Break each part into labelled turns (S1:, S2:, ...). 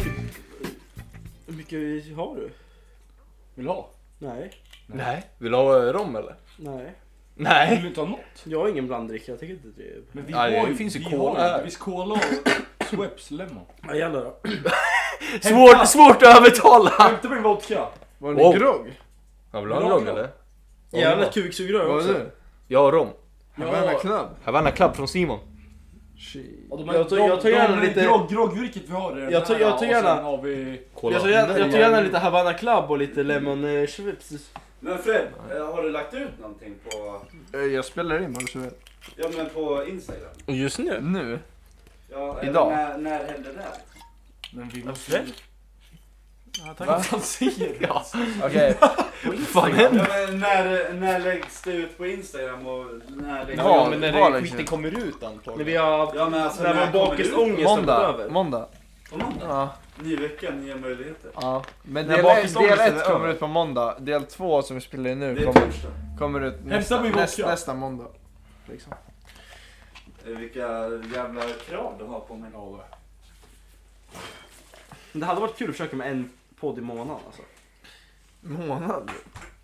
S1: typ, har du?
S2: Vill du ha?
S1: Nej.
S2: Nej. Vill du ha eh, rom eller?
S1: Nej.
S2: Nej.
S3: Äh.
S4: Vill du inte ha något?
S1: Jag har ingen blanddricka. Jag tycker inte det är...
S4: Men vi
S2: Ja, det
S4: har ju,
S2: finns ju
S4: vi
S2: cola
S4: har
S2: här.
S4: Det finns cola och Sweps lemon.
S1: Ja, jävlar då.
S2: Svårt, svårt att övertala.
S4: Hämta min vodka!
S3: Var det
S2: Wow.
S3: grogg?
S2: Ja, vill du ha en rom eller?
S1: Jävla kuksugrör
S3: Vad var
S1: också.
S3: det?
S2: Ja, rom.
S3: Havanna Club?
S2: Havanna Club från Simon.
S3: Shit.
S4: Ja, de
S1: Jag tar- jag tar gärna lite-
S4: Grogg, groggvirket vi har är den
S1: Jag tar-
S4: här,
S1: jag tar
S4: och sen
S1: gärna-
S4: har vi...
S2: Kolla.
S1: Jag tar gärna, jag tar gärna lite Havana Club och lite Lemon eh, Chips.
S5: Men Fred, eh, har du lagt ut någonting på,
S3: Eh, Jag spelar in vad du vill.
S5: ja, men på Instagram?
S1: Just nu?
S3: Nu?
S5: Ja, eller
S3: Idag.
S5: När, när hände det?
S4: Men vi måste...
S1: Fred?
S4: Vad fan säger du?
S2: Okej. Vad fan händer?
S5: Ja, men när, när läggs det ut på Instagram och när läggs
S3: Ja,
S5: det
S3: men
S5: ut?
S3: när det- liksom- skiten
S2: kommer ut
S1: När
S2: antagligen.
S1: vi har...
S5: Ja men alltså
S1: När
S5: när
S1: man
S5: kommer det ut?
S1: bakisångest har gått
S3: Måndag.
S1: över.
S3: Måndag.
S5: På måndag?
S3: Ja.
S5: Ny vecka, nya möjligheter.
S3: ja. Men
S2: När
S3: del
S2: bakisångesten är
S3: 1
S2: över.
S3: kommer ut på måndag. Del 2 som vi spelar in
S5: Det
S3: nu
S5: är
S3: kommer,
S5: torsdag.
S3: kommer ut nästa,
S4: min vodka.
S3: näst, nästa måndag. Liksom.
S5: Eh, Vilka jävla krav du har på mig.
S1: Det hade varit kul att försöka med en podd i månaden alltså.
S3: Månad?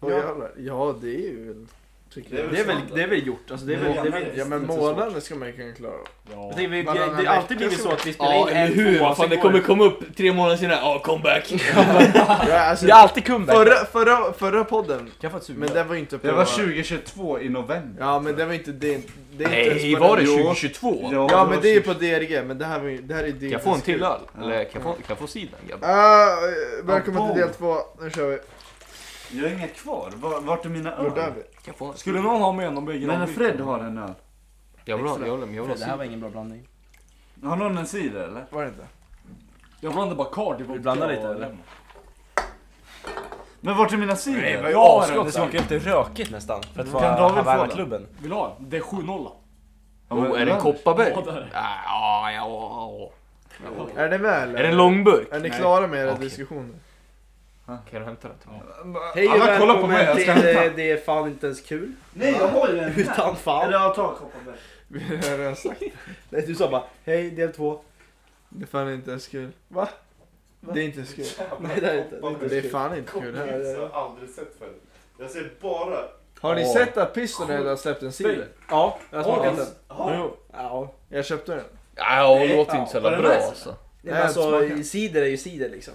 S3: Vad
S1: Ja.
S3: jävlar. Ja, det är ju väl... Tycker
S5: Det är
S3: jag.
S5: väl-
S1: Det är väl, det är väl gjort. Alltså, det är väl, det är väl
S3: Ja, men
S1: inte så
S3: månaden ska man ju kunna klara av.
S4: Ja.
S1: Jag tänker, vi, vi,
S3: Varannan
S1: det har alltid
S3: vecka
S1: blivit
S3: ska
S1: så att vi spelar
S2: Ja,
S1: in
S2: eller
S1: en
S2: hur?
S1: tvåa,
S2: Vad fan,
S1: sen
S2: det
S1: går
S2: kommer komma upp tre månader senare. Ja, comeback.
S3: Ja, alltså,
S2: Det är alltid comeback.
S3: förra, förra, förra podden,
S1: Kan jag få ett sugrör?
S3: men den var ju inte på...
S6: Det var 2022 i november.
S3: Ja, men det var inte... Det, det är inte ens
S2: Nej,
S3: på
S2: var det
S3: den-
S2: 2022?
S3: Ja, men det är ju på DRG, men det här, var ju- det här är... Det
S2: Kan jag få en till öl? Eller kan jag få, kan jag få cider? grabbar?
S3: Ah, eh, välkommen
S6: Ampon.
S3: till del två, nu kör vi.
S6: Jag har inga kvar. Var- Vart är mina
S2: Ah.
S3: Vart är
S6: öl?
S3: vi?
S2: Kan jag få?
S4: Skulle någon ha med en om bägge
S6: Men
S4: de-
S6: Fred har en öl.
S2: Jag vill ha jag vill ha- jag vill ha
S1: Det här
S2: cider.
S1: var ingen bra blandning.
S6: Har någon en cider eller?
S3: Var det inte?
S4: Jag blandar bara Cardi vodka
S1: Du blandar lite,
S4: och
S1: eller?
S4: lemon.
S6: Men vart är mina cider?
S4: men-
S6: Ja,
S4: Ja,
S2: Asgott,
S4: den
S2: det
S4: där.
S2: smakar lite rökigt nästan. För att
S6: Kan
S2: vara
S6: David få
S2: Havanna-klubben.
S4: Vill du ha en? Det är 7-0.
S6: men-
S2: Oh, är det en Kopparberg?
S4: Ja, det är det.
S2: Ah, Ja, ja, ja.
S3: Är ni med eller?
S2: Är det en långburk?
S3: Är ni klara med era
S2: Okej.
S3: diskussioner?
S2: Kan du hämta den till mig?
S1: Hej och
S6: Alla kollar på mig,
S1: välkommen
S6: jag
S1: till
S6: ska
S1: eh,
S6: hämta.
S1: Det är fan inte ens kul.
S5: Nej jag har ju en här.
S1: Utan
S5: Eller
S1: fan.
S5: ja, ta en Kopparberg.
S3: Vi har redan sagt
S1: Nej, du sa bara hej del två.
S3: det. är fan inte ens kul. Va? Det är inte ens kul.
S1: Nej det är inte.
S3: Det är fan inte kul heller.
S5: Jag har aldrig sett förut. Jag ser bara...
S3: Har ni sett att Pistonhead har släppt en cider?
S1: Ja, jag har smakat den.
S5: Har du?
S1: Ja.
S3: Jag köpte den.
S2: Ja, det låter inte så
S5: Var
S2: jävla
S5: det
S2: bra
S5: nice,
S2: alltså.
S1: Nej, men
S3: Nej,
S1: alltså
S3: smaka.
S1: i cider är ju cider liksom.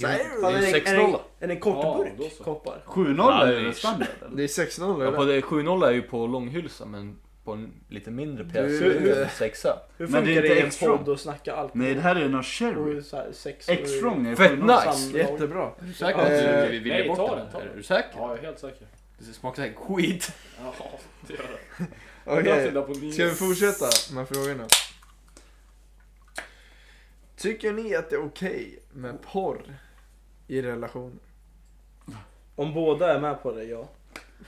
S2: Det är
S1: Fan,
S2: ju
S1: en-
S2: 6-0.
S1: en- En en
S4: Ja,
S1: kortburk
S4: då så.
S1: koppar.
S6: 7-0 är ju
S2: Nej.
S6: standard.
S3: Det är 6-0
S2: Ja,
S3: eller?
S2: på det- 7-0 är ju på långhylsa men på en lite mindre pjäs.
S3: Du-
S2: Det är en sexa.
S1: Hur
S6: Men det är
S1: funkar det
S6: inte
S1: i en
S6: extra.
S1: podd att snacka allt?
S6: Nej, det här är ju någon sherry.
S1: Och så här sex och-
S6: X-strong är
S2: Fett
S6: 7-0.
S2: nice.
S1: samlag.
S3: Jättebra.
S2: Är du
S1: säker
S2: säker
S1: på att
S2: att
S3: du
S2: du
S3: vill
S2: vill ge bort
S4: ta den?
S2: den? Är du säker?
S4: Ja, jag är helt säker.
S2: Det smakar säkert skit.
S4: Ja, det gör det.
S3: Okej,
S4: Jag har på nio.
S3: ska vi fortsätta med frågorna? Tycker ni att det är okej med porr i relationer?
S1: Om båda är med på det, ja.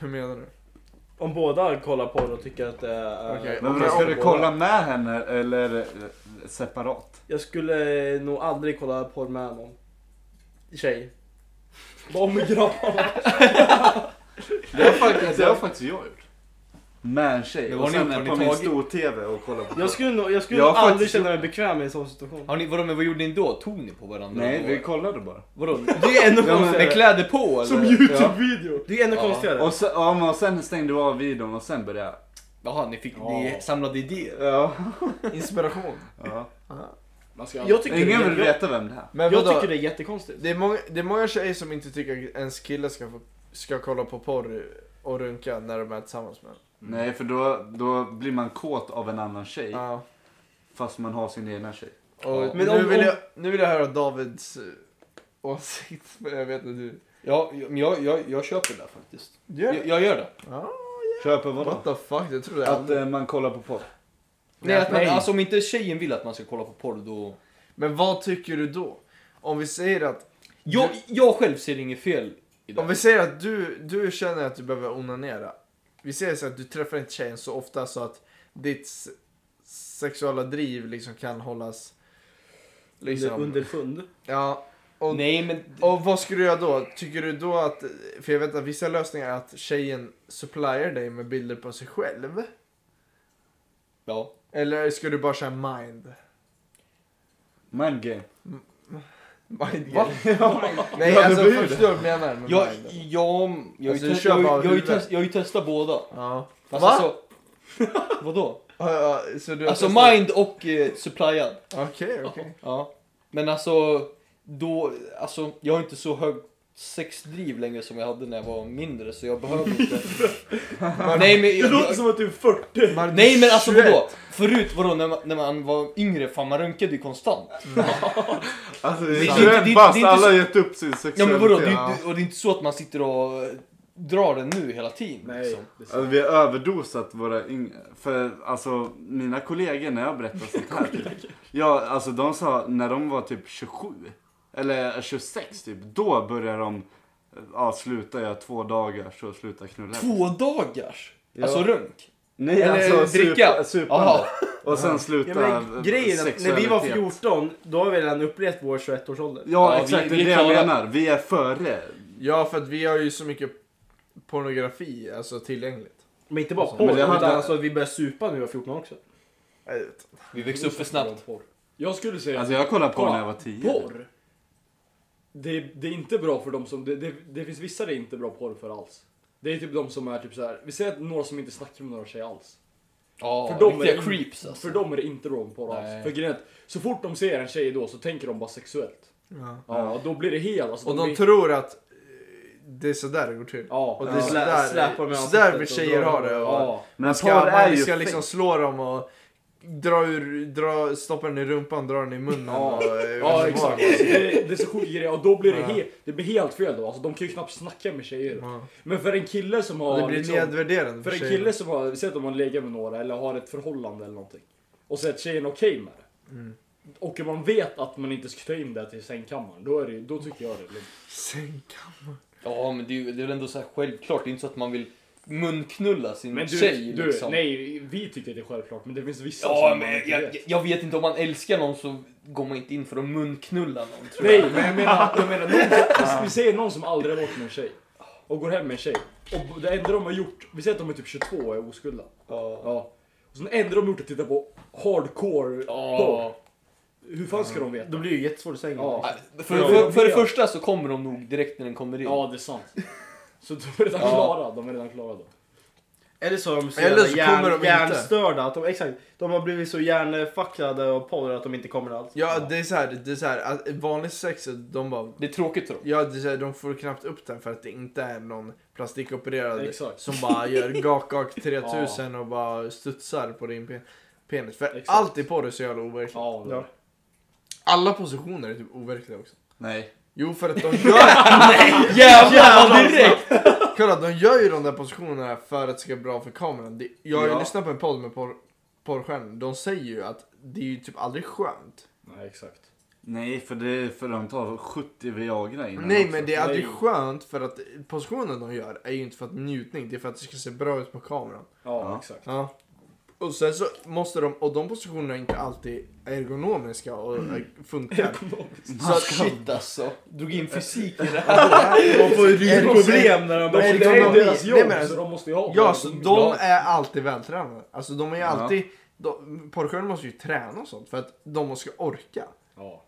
S3: Hur menar du?
S1: Om båda kollar på det och tycker att det är...
S3: Okej.
S6: Men
S3: Om
S6: vad,
S3: jag
S6: ska
S3: har
S6: du
S3: båda.
S6: kolla med henne eller eh, separat?
S1: Jag skulle nog aldrig kolla porr med någon tjej. Bara med grabbarna.
S6: Det har faktiskt, det har faktiskt jag gjort. Med en tjej.
S2: Men
S6: Och
S2: vad har
S6: sen
S2: ni gjort? Har ni
S6: på min
S2: tagit-
S6: stor-tv och kollat på
S1: Jag skulle nog, jag skulle
S6: Jag har
S1: nog aldrig
S6: faktiskt
S1: känna mig bekväm i en sån situation.
S2: Har ni, vadå, men vad gjorde ni då? Tog ni på varandra?
S6: Nej,
S2: Eller
S6: vi
S2: vad?
S6: kollade bara.
S2: Vadå? Det är ännu
S6: Ja, men-
S2: konstigare. Med kläder på eller?
S1: Youtube-video! Det är ännu
S2: Ja.
S1: konstigare.
S6: Och sen, ja, men sen stängde vi av videon och sen började jag.
S2: Jaha, ni, fick, ni samlade idéer.
S6: Ja.
S3: Inspiration?
S6: ja.
S4: Man ska...
S1: Jag tycker,
S6: Ingen
S1: det,
S6: vill
S1: är- jag,
S6: veta vem det är.
S3: Men
S1: jag
S3: vadå?
S1: tycker det är jättekonstigt.
S3: Det är, många, det är många tjejer som inte tycker att ens kille ska, få, ska kolla på porr och runka när de är tillsammans med en.
S6: Nej, för då, då blir man kåt av en annan tjej.
S3: Ja.
S6: Fast man har sin egna tjej.
S3: Och
S1: Men
S3: nu,
S1: om-
S3: vill
S1: om-
S3: jag, nu vill jag höra Davids eh, åsikt, men jag vet inte hur.
S2: Ja, men jag, jag, jag köper det där faktiskt.
S3: Gör
S2: Jag, jag gör det.
S6: Köper vadå?
S3: What the fuck, det trodde jag
S6: Att
S3: aldrig.
S6: eh, man kollar på porr.
S2: Nej, att man, alltså om inte tjejen vill att man ska kolla på porr då...
S3: Men vad tycker du då? Om vi säger att,
S2: Jag, jag själv ser inget fel i det.
S3: om vi säger att du, du känner att du behöver onanera. Vi säger så att du träffar inte tjejen så ofta så att ditt s- sexuella driv liksom kan hållas liksom.
S1: Underfund.
S3: Ja, och
S2: Nej men...
S3: Och vad skulle du göra då? Tycker du då att, för jag vet att vissa lösningar är att tjejen supplier dig med bilder på sig själv?
S2: Ja.
S3: Eller ska du bara köra mind?
S6: Mind game.
S3: Mindgame. Nej, alltså
S6: det blir det.
S3: förstår du vad jag menar med
S2: Jag,
S3: mindgame.
S2: jag, jag,
S3: Alltså,
S2: jag,
S3: du
S2: test-
S3: kör
S2: jag,
S3: bara
S2: jag, jag,
S3: huvudet.
S2: test, jag har ju testat båda.
S3: Ja.
S2: Fast
S3: Va?
S2: Alltså, vadå?
S3: Ja, ja, så du har
S2: Alltså
S3: testat-
S2: mind och eh, supplyad.
S3: Okej, okej.
S2: Ja. Men alltså, då, alltså, jag har inte så hög sexdriv längre som jag hade när jag var mindre så jag behöver inte. Nej men,
S5: Det
S2: jag,
S5: låter som att du är 40.
S3: Man-
S2: nej, men alltså
S3: 21.
S2: vadå? Förut vadå, när, man, när man var yngre, fan man runkade ju konstant.
S6: Alltså
S2: Det-
S6: det
S2: det-
S6: är
S2: det- det-
S6: 21
S2: det är
S6: bast,
S2: inte
S6: alla
S2: så-
S6: har gett upp sin sexualitet.
S2: Ja men vadå, det, är ju
S6: Ja.
S2: inte- och det är inte så att man sitter och eh, drar den nu hela tiden.
S5: Nej.
S2: liksom.
S6: Alltså, vi har överdosat våra yngre. För alltså mina kollegor när jag berättar sånt här. typ. ja, alltså de sa när de var typ 27. Eller 26 typ. Då börjar de. Ja, sluta jag två dagar så sluta knulla.
S2: Två dagars?
S6: Ja.
S2: Alltså runk?
S6: Nej,
S2: Eller dricka.
S6: Supa, supande.
S2: Jaha.
S6: Och sen sluta
S1: Ja, men grejen är att när vi var
S6: sexualitet.
S1: 14, då har vi redan upplevt vår 21-årsålder.
S6: Ja,
S2: Ja,
S6: exakt.
S2: vi-
S6: det
S2: vi
S6: är
S2: är
S6: det
S2: klara.
S6: jag menar. Vi är före.
S3: Ja, för att vi har ju så mycket pornografi alltså, tillgängligt.
S1: Men inte bara
S6: Men
S1: porr,
S6: det
S1: utan
S6: hade-
S1: alltså, vi började supa när vi var 14 också.
S3: Jag vet.
S2: Vi växte upp för snabbt.
S4: Jag skulle säga
S6: Alltså jag kollade på
S4: Kolla,
S6: när jag var 10.
S4: porr. Det, det är inte bra för de som, det, det, det finns vissa det är inte bra porr för alls. Det är typ de som är typ så här. vi säger att några som inte snackar med några tjejer alls.
S2: Ja,
S4: För dem är
S2: riktiga
S4: det-
S2: creeps alltså.
S4: För dem är det inte bra porr alls.
S2: Nej.
S4: För grejen är att så fort de ser en tjej då så tänker de bara sexuellt.
S3: Ja.
S4: Ja, och då blir det helt alltså.
S3: Och de
S4: blir-
S3: tror att eh, det är sådär det går till.
S4: Ja,
S3: Och det
S4: ja,
S3: är
S1: Slä- släpar
S3: sådär,
S1: med
S3: sådär vi
S1: ansiktet och
S3: tjejer
S1: drar
S3: har det. Och
S4: ja.
S6: Men
S3: ska,
S6: porr är
S3: man
S6: ju
S3: ska
S6: fake.
S3: liksom slå dem och dra ur, dra, stoppa den i rumpan, dra den i munnen.
S4: Ja.
S3: och, eh,
S4: Ja
S3: vad som
S4: exakt,
S3: var.
S4: alltså, det, det är så sjukt grejer och då blir det,
S3: Ja.
S4: helt, det blir helt fel då. Alltså, de kan ju knappt snacka med tjejer.
S3: Ja.
S4: Men för en kille som
S3: Och
S4: har...
S3: det blir
S4: liksom-
S3: nedvärderande
S4: För en
S3: tjejerna.
S4: kille som har, säg att de har legat med några eller har ett förhållande eller någonting. Och så är tjejen okej med det.
S3: Mm.
S4: Och om man vet att man inte ska ta in det till sängkammaren, då, är det, då tycker jag det är lugnt.
S3: Sänka.
S2: Ja, men det är ju det är väl ändå så här självklart. Det är inte så att man vill munknulla sin
S4: Men du,
S2: tjej
S4: du
S2: liksom.
S4: nej, vi tycker det är självklart, men det finns vissa
S2: Ja,
S4: man
S2: men
S4: inte
S2: jag,
S4: vet.
S2: jag, jag vet inte, om man älskar någon så går man inte in för att munknulla någon tror jag.
S4: Nej, men jag menar, jag menar någon, som- alltså, vi säger någon som aldrig har varit med en tjej. Och går hem med en tjej. Och det enda de har gjort, vi säger att de är typ 22 och är oskulda.
S2: Ja.
S4: Ja. Och sen det enda de har gjort är att titta på hardcore porr.
S2: Ja.
S4: Hur fan ska de veta?
S1: Då blir det ju jättesvårt att sänga.
S4: Ja.
S2: För, för, för det första så kommer de nog direkt när den kommer in.
S4: Ja, det är sant. Så de är redan
S2: Ja.
S4: klara, de är redan klara då.
S1: Eller så är de så,
S3: Eller så
S1: jävla
S3: kommer de inte.
S1: hjärnstörda. Att de, exakt, de har blivit så hjärnfuckade av porr att de inte kommer alls.
S3: Ja, det är såhär, det är såhär, att vanligt sex, de bara
S2: Det är tråkigt tror jag.
S3: Ja, det är så här, de får knappt upp den för att det inte är någon plastikopererad
S4: Exakt.
S3: som bara gör gak-gak 3000 och bara studsar på din pe- penis. För
S4: Exakt.
S3: allt i porr är så jävla overkligt.
S4: Ja, det är
S1: Ja.
S4: det.
S3: Alla positioner är typ overkliga också.
S6: Nej.
S3: Jo, för att de gör,
S2: Jävlar vad direkt!
S3: kolla, de gör ju de där positionerna för att det ska bli bra för kameran. Det, jag har ju
S6: Ja.
S3: lyssnat på en podd med porr, porrstjärnor. De säger ju att det är ju typ aldrig skönt.
S4: Nej, exakt.
S6: Nej, för, det är för de tar 70 Viagra innan
S3: Nej,
S6: också.
S3: men det är aldrig
S4: Mm, Nej.
S3: skönt för att positionen de gör är ju inte för att njutning. Det är för att det ska se bra ut på kameran.
S4: Ja,
S6: Ja.
S4: exakt.
S3: Ja. Och sen så måste de, och de positionerna är inte alltid ergonomiska och funkar.
S2: Så att, shit alltså. Drog in fysik i det här.
S1: De får ju ryggproblem när de
S4: De, det
S1: börjar
S3: Nej,
S4: är
S3: de-
S1: sänga.
S4: deras
S3: nej,
S4: jobb,
S3: men-
S4: så de måste ju ha
S3: Ja, så de
S4: Ja,
S3: är alltid vältränade. Alltså de är ju
S6: Ja.
S3: alltid, de- porrstjärnor måste ju träna och sånt för att de måste orka.
S4: Ja.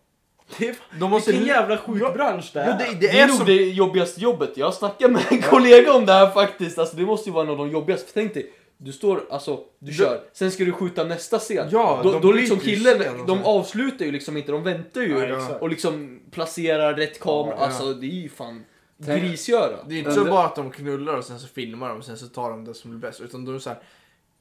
S3: De måste...
S1: Vilken jävla sjuk bransch det
S3: Jo,
S1: är.
S3: det,
S2: Det
S3: det
S2: är,
S3: är
S2: nog
S3: som...
S2: det jobbigaste jobbet. Jag snackade med en kollega om det här faktiskt. Alltså det måste ju vara en av de jobbigaste. För tänk dig, du står, alltså du kör, sen ska du skjuta nästa scen.
S3: Ja,
S2: då,
S3: de
S2: då
S3: byter
S2: liksom
S3: ju scen
S2: killen,
S3: och
S2: de
S3: så.
S2: avslutar ju liksom inte, de väntar ju.
S4: Ja, exakt.
S2: och liksom placerar rätt kamera.
S3: Ja.
S2: Alltså det är ju fan grisgöra.
S3: Det är inte så bara att de knullar och sen så filmar de och sen så tar de det som blir bäst. Utan de är så här,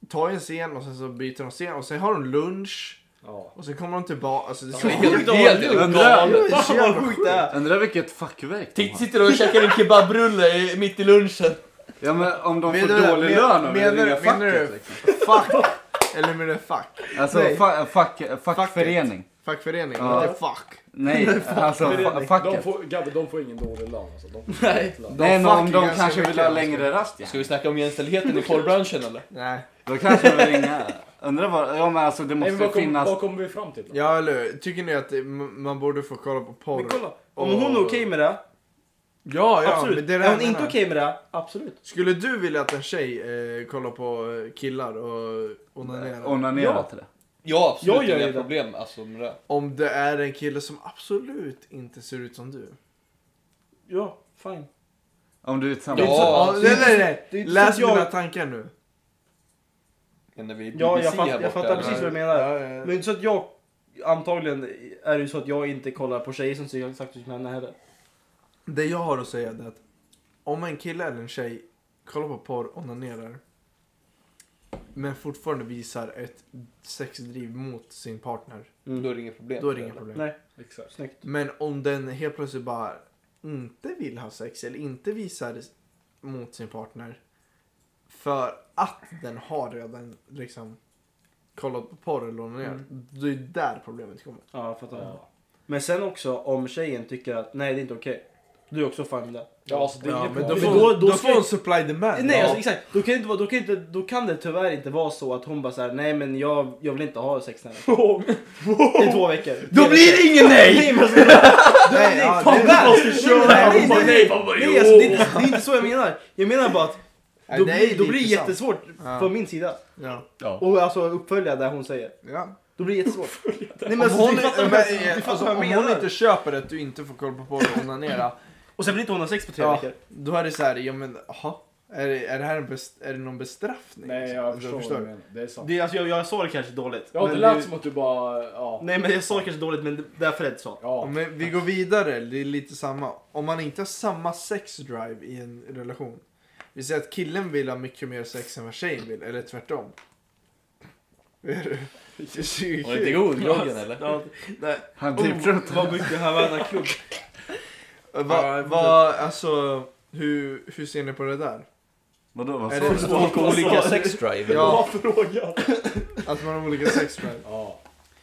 S3: tar en scen och sen så byter de scen och sen har de lunch
S4: Ja.
S3: och sen kommer de tillbaka. Alltså det är så
S2: Det är helt-
S1: Ja,
S2: helt
S1: det
S2: galet.
S1: Fan vad sjukt det är.
S6: Undrar vilket fackverk de
S2: Titt-
S6: har.
S2: Sitter och käkar en kebabrulle i- mitt i lunchen.
S6: Ja, men om de får
S3: Menar du-
S6: dålig
S3: men-
S6: lön och vill
S3: menar-
S6: ringa
S3: menar du-
S6: facket. Liksom.
S3: fuck. Eller med det fuck.
S6: Alltså
S3: Nej.
S6: fa- fack, fackförening.
S3: Fackförening,
S6: Ja.
S3: inte fuck.
S6: Nej, alltså fa-
S4: De
S6: facket.
S4: får, Gabbe, de får ingen dålig lön alltså. De får
S2: Nej.
S4: ingen lön.
S6: Nej, men
S3: fuck
S6: om
S3: är
S6: de
S3: ganska
S6: kanske vill
S3: mycket,
S6: ha
S3: alltså.
S6: längre rast. Ja.
S2: Ska vi snacka om jämställdheten i porrbranschen eller?
S3: Nej.
S6: Då kanske de vill ringa. Undrar vad, ja men alltså det
S4: Nej,
S6: måste
S4: men vad, kom,
S6: finnas.
S4: vad kommer vi fram till då?
S3: Ja, eller hur? Tycker ni att det- m- man borde få kolla på porr?
S1: Men kolla, om hon är okej med det,
S3: Ja, ja.
S1: absolut.
S3: Men det är det
S1: är
S3: jag
S1: hon inte
S3: menar.
S1: okej med det, absolut.
S3: Skulle du vilja att en tjej eh, kollar på eh, killar och onanerar?
S6: Onanera
S1: Ja.
S6: till det.
S2: Jag har
S1: Jag
S2: absolut
S1: gör
S2: inga
S1: ju det.
S2: problem alltså, med det.
S3: Om det är en kille som absolut inte ser ut som du.
S1: Ja, fine.
S6: Om du är tillsammans
S2: Ja.
S3: Ja,
S1: det är
S3: nej,
S1: inte-
S3: nej,
S1: det är
S3: nej.
S1: inte
S3: Läs
S1: så att jag-
S3: mina tankar nu.
S2: Men när vi är
S1: Ja, jag,
S2: BBC
S1: fatt,
S2: här
S1: jag
S2: borta,
S1: fattar precis vad du menar.
S3: Ja, ja.
S1: Men det är inte så att jag... Antagligen är det ju så att jag inte kollar på tjejer som ser exakt ut som henne heller.
S3: Det jag har att säga är att om en kille eller en tjej kollar på porr, onanerar men fortfarande visar ett sexdriv mot sin partner,
S2: Då är det inget problem.
S3: då är det inga problem.
S1: Nej,
S4: Exakt.
S1: snyggt.
S3: Men om den helt plötsligt bara inte vill ha sex eller inte visar mot sin partner för att den har redan liksom kollat på porr eller onanerat, då är det där problemet kommer.
S1: Ja, jag fattar. Men sen också om tjejen tycker att nej, det är inte okej. Du är också fine med det.
S4: Ja, alltså det är
S3: Ja,
S4: inget
S3: men
S4: bra.
S3: då,
S1: Men
S3: får-
S1: då-
S3: då,
S1: då ska-
S3: får hon supply demand.
S1: Nej,
S3: Ja.
S1: alltså, exakt. Då kan, det inte vara, då, kan det inte, då kan det tyvärr inte vara så att hon bara såhär, nej men jag, jag vill inte ha sex den här veckan." I två veckor. alltså,
S2: Då blir det ingen nej!
S3: Nej, ja,
S1: Fan,
S3: det-
S1: där!
S3: Nej,
S1: Nej, nej, nej,
S4: pappa,
S1: Nej, alltså, det, är inte, det är inte så jag menar. Jag menar bara att
S3: Nej,
S1: då,
S3: det är
S1: blir- då
S3: lite
S1: blir det
S3: sant.
S1: jättesvårt
S3: Ja.
S1: från min sida.
S3: Ja.
S1: Och alltså uppfölja det hon säger.
S3: Ja.
S1: Då blir det jättesvårt. Nej, men
S3: Om
S1: alltså,
S3: hon,
S1: du fattar
S3: men,
S1: vad jag- du
S3: alltså,
S1: fattar vad
S3: om
S1: jag
S3: hon
S1: menar.
S3: inte köper att du inte får kolla på porr och onanera,
S1: Och sen blir inte hon ha sex på tre
S3: ja,
S1: veckor.
S3: då är det så här, ja men jaha, är det, är det här en best, är det någon bestraffning?
S4: Nej, jag
S3: Alltså,
S4: förstår vad du menar. Det är sant.
S1: Det, alltså, jag, jag sa det kanske dåligt.
S4: Ja, det
S1: men
S4: lät som att du bara... Ja.
S1: Nej men jag sa det kanske dåligt men det- därför är det så.
S3: Ja,
S4: ja.
S3: men vi går vidare, det är lite samma. Om man inte har samma sexdrive i en relation. Vi säger att killen vill ha mycket mer sex än vad tjejen vill, eller tvärtom. Det är ju
S2: Var det inte
S3: kul.
S2: god groggen eller?
S1: Ja, nej.
S6: Han
S1: Oh,
S6: typ tror att
S1: vad mycket Havanna klubb.
S3: Va, va, alltså, hur, hur ser ni på det där?
S6: Vadå, vad
S3: Är
S6: sa
S3: det
S6: du?
S2: Folk har olika
S1: Alltså,
S2: sexdrive.
S3: Ja,
S4: frågan.
S3: att man har olika sexdrive.
S4: Ja.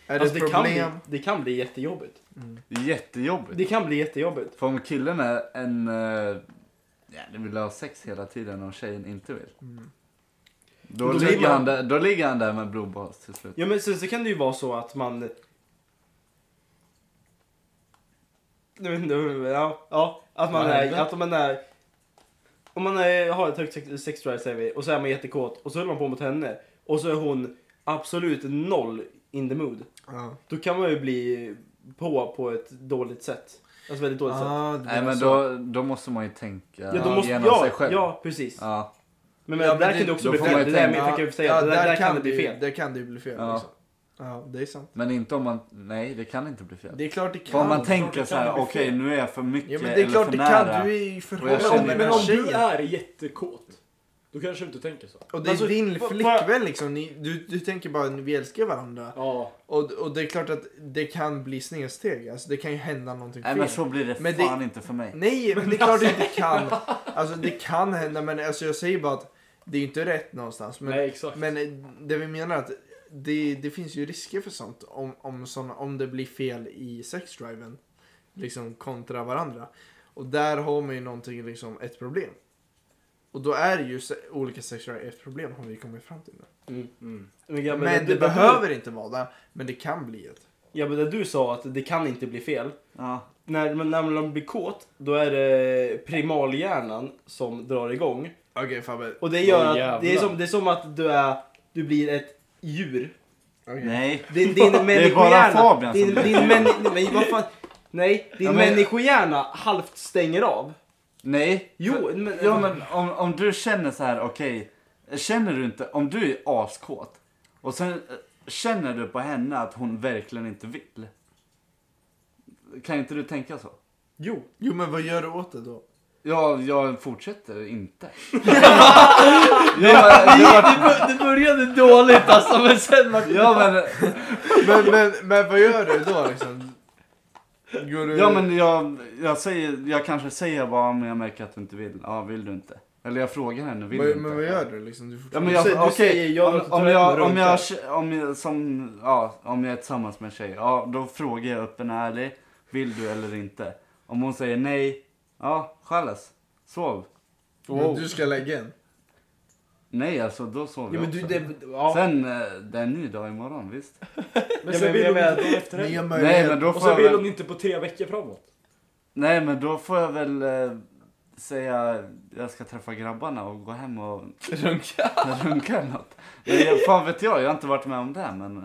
S3: Är
S1: Alltså,
S3: det
S1: det,
S3: ett
S1: kan bli,
S3: problem?
S1: det kan bli jättejobbigt.
S6: Jättejobbigt.
S1: Det kan bli jättejobbigt.
S6: För om killen är en... eh, Ja, den vill ha sex hela tiden och tjejen inte vill.
S3: Mm.
S6: Då,
S1: Då blir
S6: ligger
S1: man-
S6: han där, då ligger han där med blodbas till slut.
S1: Ja men sen så kan det ju vara så att man... Jag vet inte, Ja, ja, att man
S2: Vad
S1: är...
S2: hände?
S1: Att om man är... Om man är, har ett högt sex- sexdrive säger vi och så är man jättekåt och så håller man på mot henne och så är hon absolut noll in the mood.
S3: Ja.
S1: Då kan man ju bli på på ett dåligt sätt. Alltså väldigt dåligt sätt.
S3: Ah, det
S6: Nej
S3: menar
S6: men
S1: alltså-
S3: så.
S6: då, då måste man ju tänka
S1: Ja, då måste,
S6: genom
S1: ja,
S6: sig själv.
S1: ja, precis.
S6: Ja.
S1: Men,
S3: Ja,
S1: men
S3: men
S1: där
S3: det-
S1: kan det också
S6: då
S1: bli
S6: får
S1: fel.
S6: man ju
S1: Det där
S6: tänka.
S1: med jag
S3: Ja,
S1: kan säga,
S3: ja,
S1: det där, där kan det bli
S3: ju-
S1: fel.
S3: Där kan det ju bli fel.
S6: Ja.
S3: Liksom. ja, det är sant.
S6: Men inte om man... Nej, det kan inte bli fel.
S3: Det är klart det
S6: För
S3: kan.
S6: om man
S3: det
S6: tänker
S3: kan
S6: så här,
S3: bli
S6: okej
S3: fel.
S6: nu är jag för mycket
S3: Ja, men det är klart det
S6: eller för nära.
S3: kan. Du är ju i
S6: jag känner
S3: förhållande med
S4: Men om du
S3: tjejen.
S4: är jättekåt, då kanske du inte tänker så.
S3: Och det är
S1: Alltså,
S3: din
S1: va-
S3: flickvän liksom. Ni, du, du tänker bara att vi älskar varandra.
S4: Ja.
S3: Och, och det är klart att det kan bli snedsteg. Alltså det kan ju hända någonting
S6: Nej
S3: fel.
S6: men så blir det
S3: Men
S6: fan inte för mig.
S3: Nej, men det är klart det inte kan. Alltså det kan hända men alltså, jag säger bara att det är ju inte rätt någonstans. Men
S4: Nej, exakt.
S3: Men eh, det vi menar är att det, det finns ju risker för sånt om, om, såna, om det blir fel i sexdriven. Liksom kontra varandra. Och där har man ju någonting, liksom ett problem. Och då är ju se- olika sexdrive ett problem har vi kommit fram till nu.
S4: Mm.
S1: Men, grabbar,
S3: men det,
S1: du-
S3: behöver inte vara det, men det kan bli ett.
S1: Ja men det du sa att det kan inte bli fel.
S6: Ja.
S1: När, men när man blir kåt då är det primalhjärnan som drar igång.
S3: Okej Fabbe.
S1: Och det gör
S4: Åh,
S1: att det är,
S4: jävlar.
S1: som, det är som att du, är, du blir ett djur.
S6: Nej.
S1: Din, din
S6: bara
S1: människohjärna.
S6: Fabian som
S1: Din,
S6: blir
S1: din män, men vad fan. Nej, din
S6: Ja, men-
S1: människohjärna halvt stänger av.
S6: Nej.
S1: Jo, men,
S6: Ja men om, om du känner så här, okej. känner du inte, om du är askåt. Och sen eh, känner du på henne att hon verkligen inte vill. Kan inte du tänka så?
S1: Jo.
S3: Jo men vad gör du åt det då?
S6: Ja, jag fortsätter inte. ja, men, ja,
S1: Det, bör- det började dåligt alltså men sen var
S6: ja, men,
S3: Men, men, men vad gör du då liksom? Går du...
S6: ja, men jag, jag, säger, jag kanske säger bara, men jag märker att du inte vill. Ja, vill du inte? Eller jag frågar henne, vill du
S3: men,
S6: inte?
S3: men vad gör du liksom? Du
S6: Ja,
S3: fortfarande-
S6: men jag,
S1: Du säger- du
S6: okej,
S1: säger jag
S6: om,
S1: och så
S6: om,
S1: tar jag
S6: jag,
S1: en
S6: om, jag,
S1: runka.
S6: om, jag, som, ja, om jag är tillsammans med en tjej, ja, då frågar jag öppen och ärlig, vill du eller inte? Om hon säger nej, ja, chalas, sov.
S3: men du ska lägga en.
S6: Nej alltså, då sover
S1: Ja
S6: jag
S1: men du,
S6: också.
S1: det, ja.
S6: Sen, eh, det är en ny dag imorgon, visst?
S4: Men
S1: Ja,
S4: sen
S1: men
S4: vill
S1: jag
S4: hon inte
S1: menar-
S4: gå efter dig.
S3: Nya
S6: Nej
S3: möjligheter.
S6: men, då
S4: Och
S6: får jag
S4: sen vill hon
S6: väl,
S4: inte på tre veckor framåt.
S6: nej men då får jag väl eh, säga, jag ska träffa grabbarna och gå hem och
S2: Runka.
S6: runka eller något. Men jag- Fan vet jag, jag har inte varit med om det men. eh,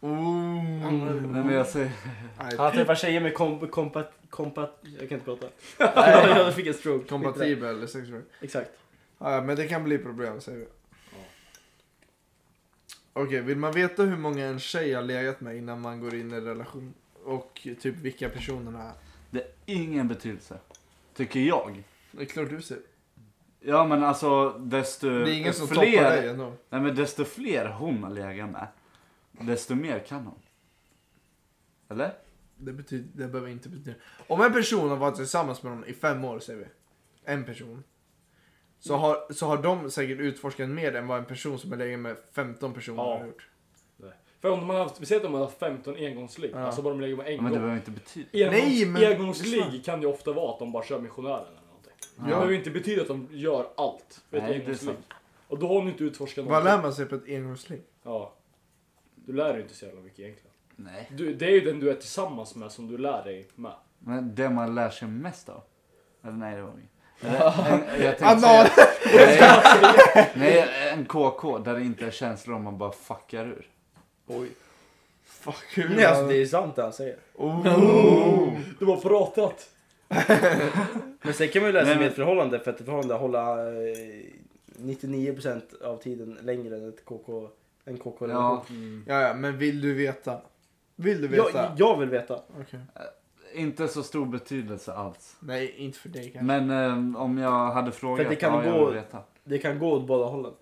S3: Ooh.
S6: Nej men jag säger...
S1: Han träffar tjejer med kom, kompat, kompat... Jag kan inte prata.
S2: Nej.
S1: jag fick en stroke. Skit i
S3: Kompatibel sexuell.
S1: det. Exakt.
S3: Ja, men det kan bli problem säger vi. Okej, vill man veta hur många en tjej har legat med innan man går in i en relation? Och typ vilka personerna är?
S6: Det har ingen betydelse. Tycker jag.
S3: Det är klart du ser.
S6: Ja men alltså desto
S3: Det är ingen som toppar dig
S6: fler...
S3: ändå.
S6: Nej men desto fler hon har legat med. Desto mer kan hon. Eller?
S3: Det, betyder, det behöver inte betyda. Om en person har varit tillsammans med någon i fem år säger vi. En person. Så har, så har de säkert utforskat mer än vad en person som har legat med 15 personer
S4: Ja.
S3: har gjort.
S4: För om de har haft, vi säger att de har haft 15 engångsligg,
S3: Ja.
S4: alltså bara de lägger med en
S6: Ja, men det
S4: gång.
S6: behöver inte betyda...
S4: Engångs,
S3: Nej, men-
S4: Engångsligg kan ju ofta vara att de bara kör missionären eller någonting.
S3: Ja.
S4: Det behöver ju inte betyda att de gör allt. Vet
S6: Nej,
S4: du,
S6: det är
S4: engångsligg.
S6: sant.
S4: Och då har de ju inte utforskat
S3: Vad lär man sig på ett engångsligg?
S4: Ja. Du lär dig ju inte så jävla mycket egentligen.
S6: Nej.
S4: Du, det är ju den du är tillsammans med som du lär dig med.
S6: Men det man lär sig mest av? Eller nej det var inget. Eller, en- Jag tänkte
S3: Anal!
S6: säga... Nej, nej, en KK där det inte är känslor om man bara fuckar ur.
S1: Oj.
S3: Fuck hur? Oh.
S1: Nej, alltså, det Oh. är sant det han säger.
S4: Du har pratat!
S1: Men sen kan man ju läsa
S6: Nej,
S1: med
S6: men-
S1: ett förhållande för att ett förhållande hålla eh, 99% av tiden längre än ett KK, en KK
S6: Ja,
S3: Ja, ja, men vill du veta? Vill du veta?
S1: jag, jag vill veta.
S3: Okej.
S6: inte så stor betydelse alls.
S3: Nej, inte för dig kanske.
S6: Men eh, om jag hade frågat,
S1: För det kan
S6: ja, jag
S1: gå-
S6: vill veta.
S1: Det kan gå åt båda hållen.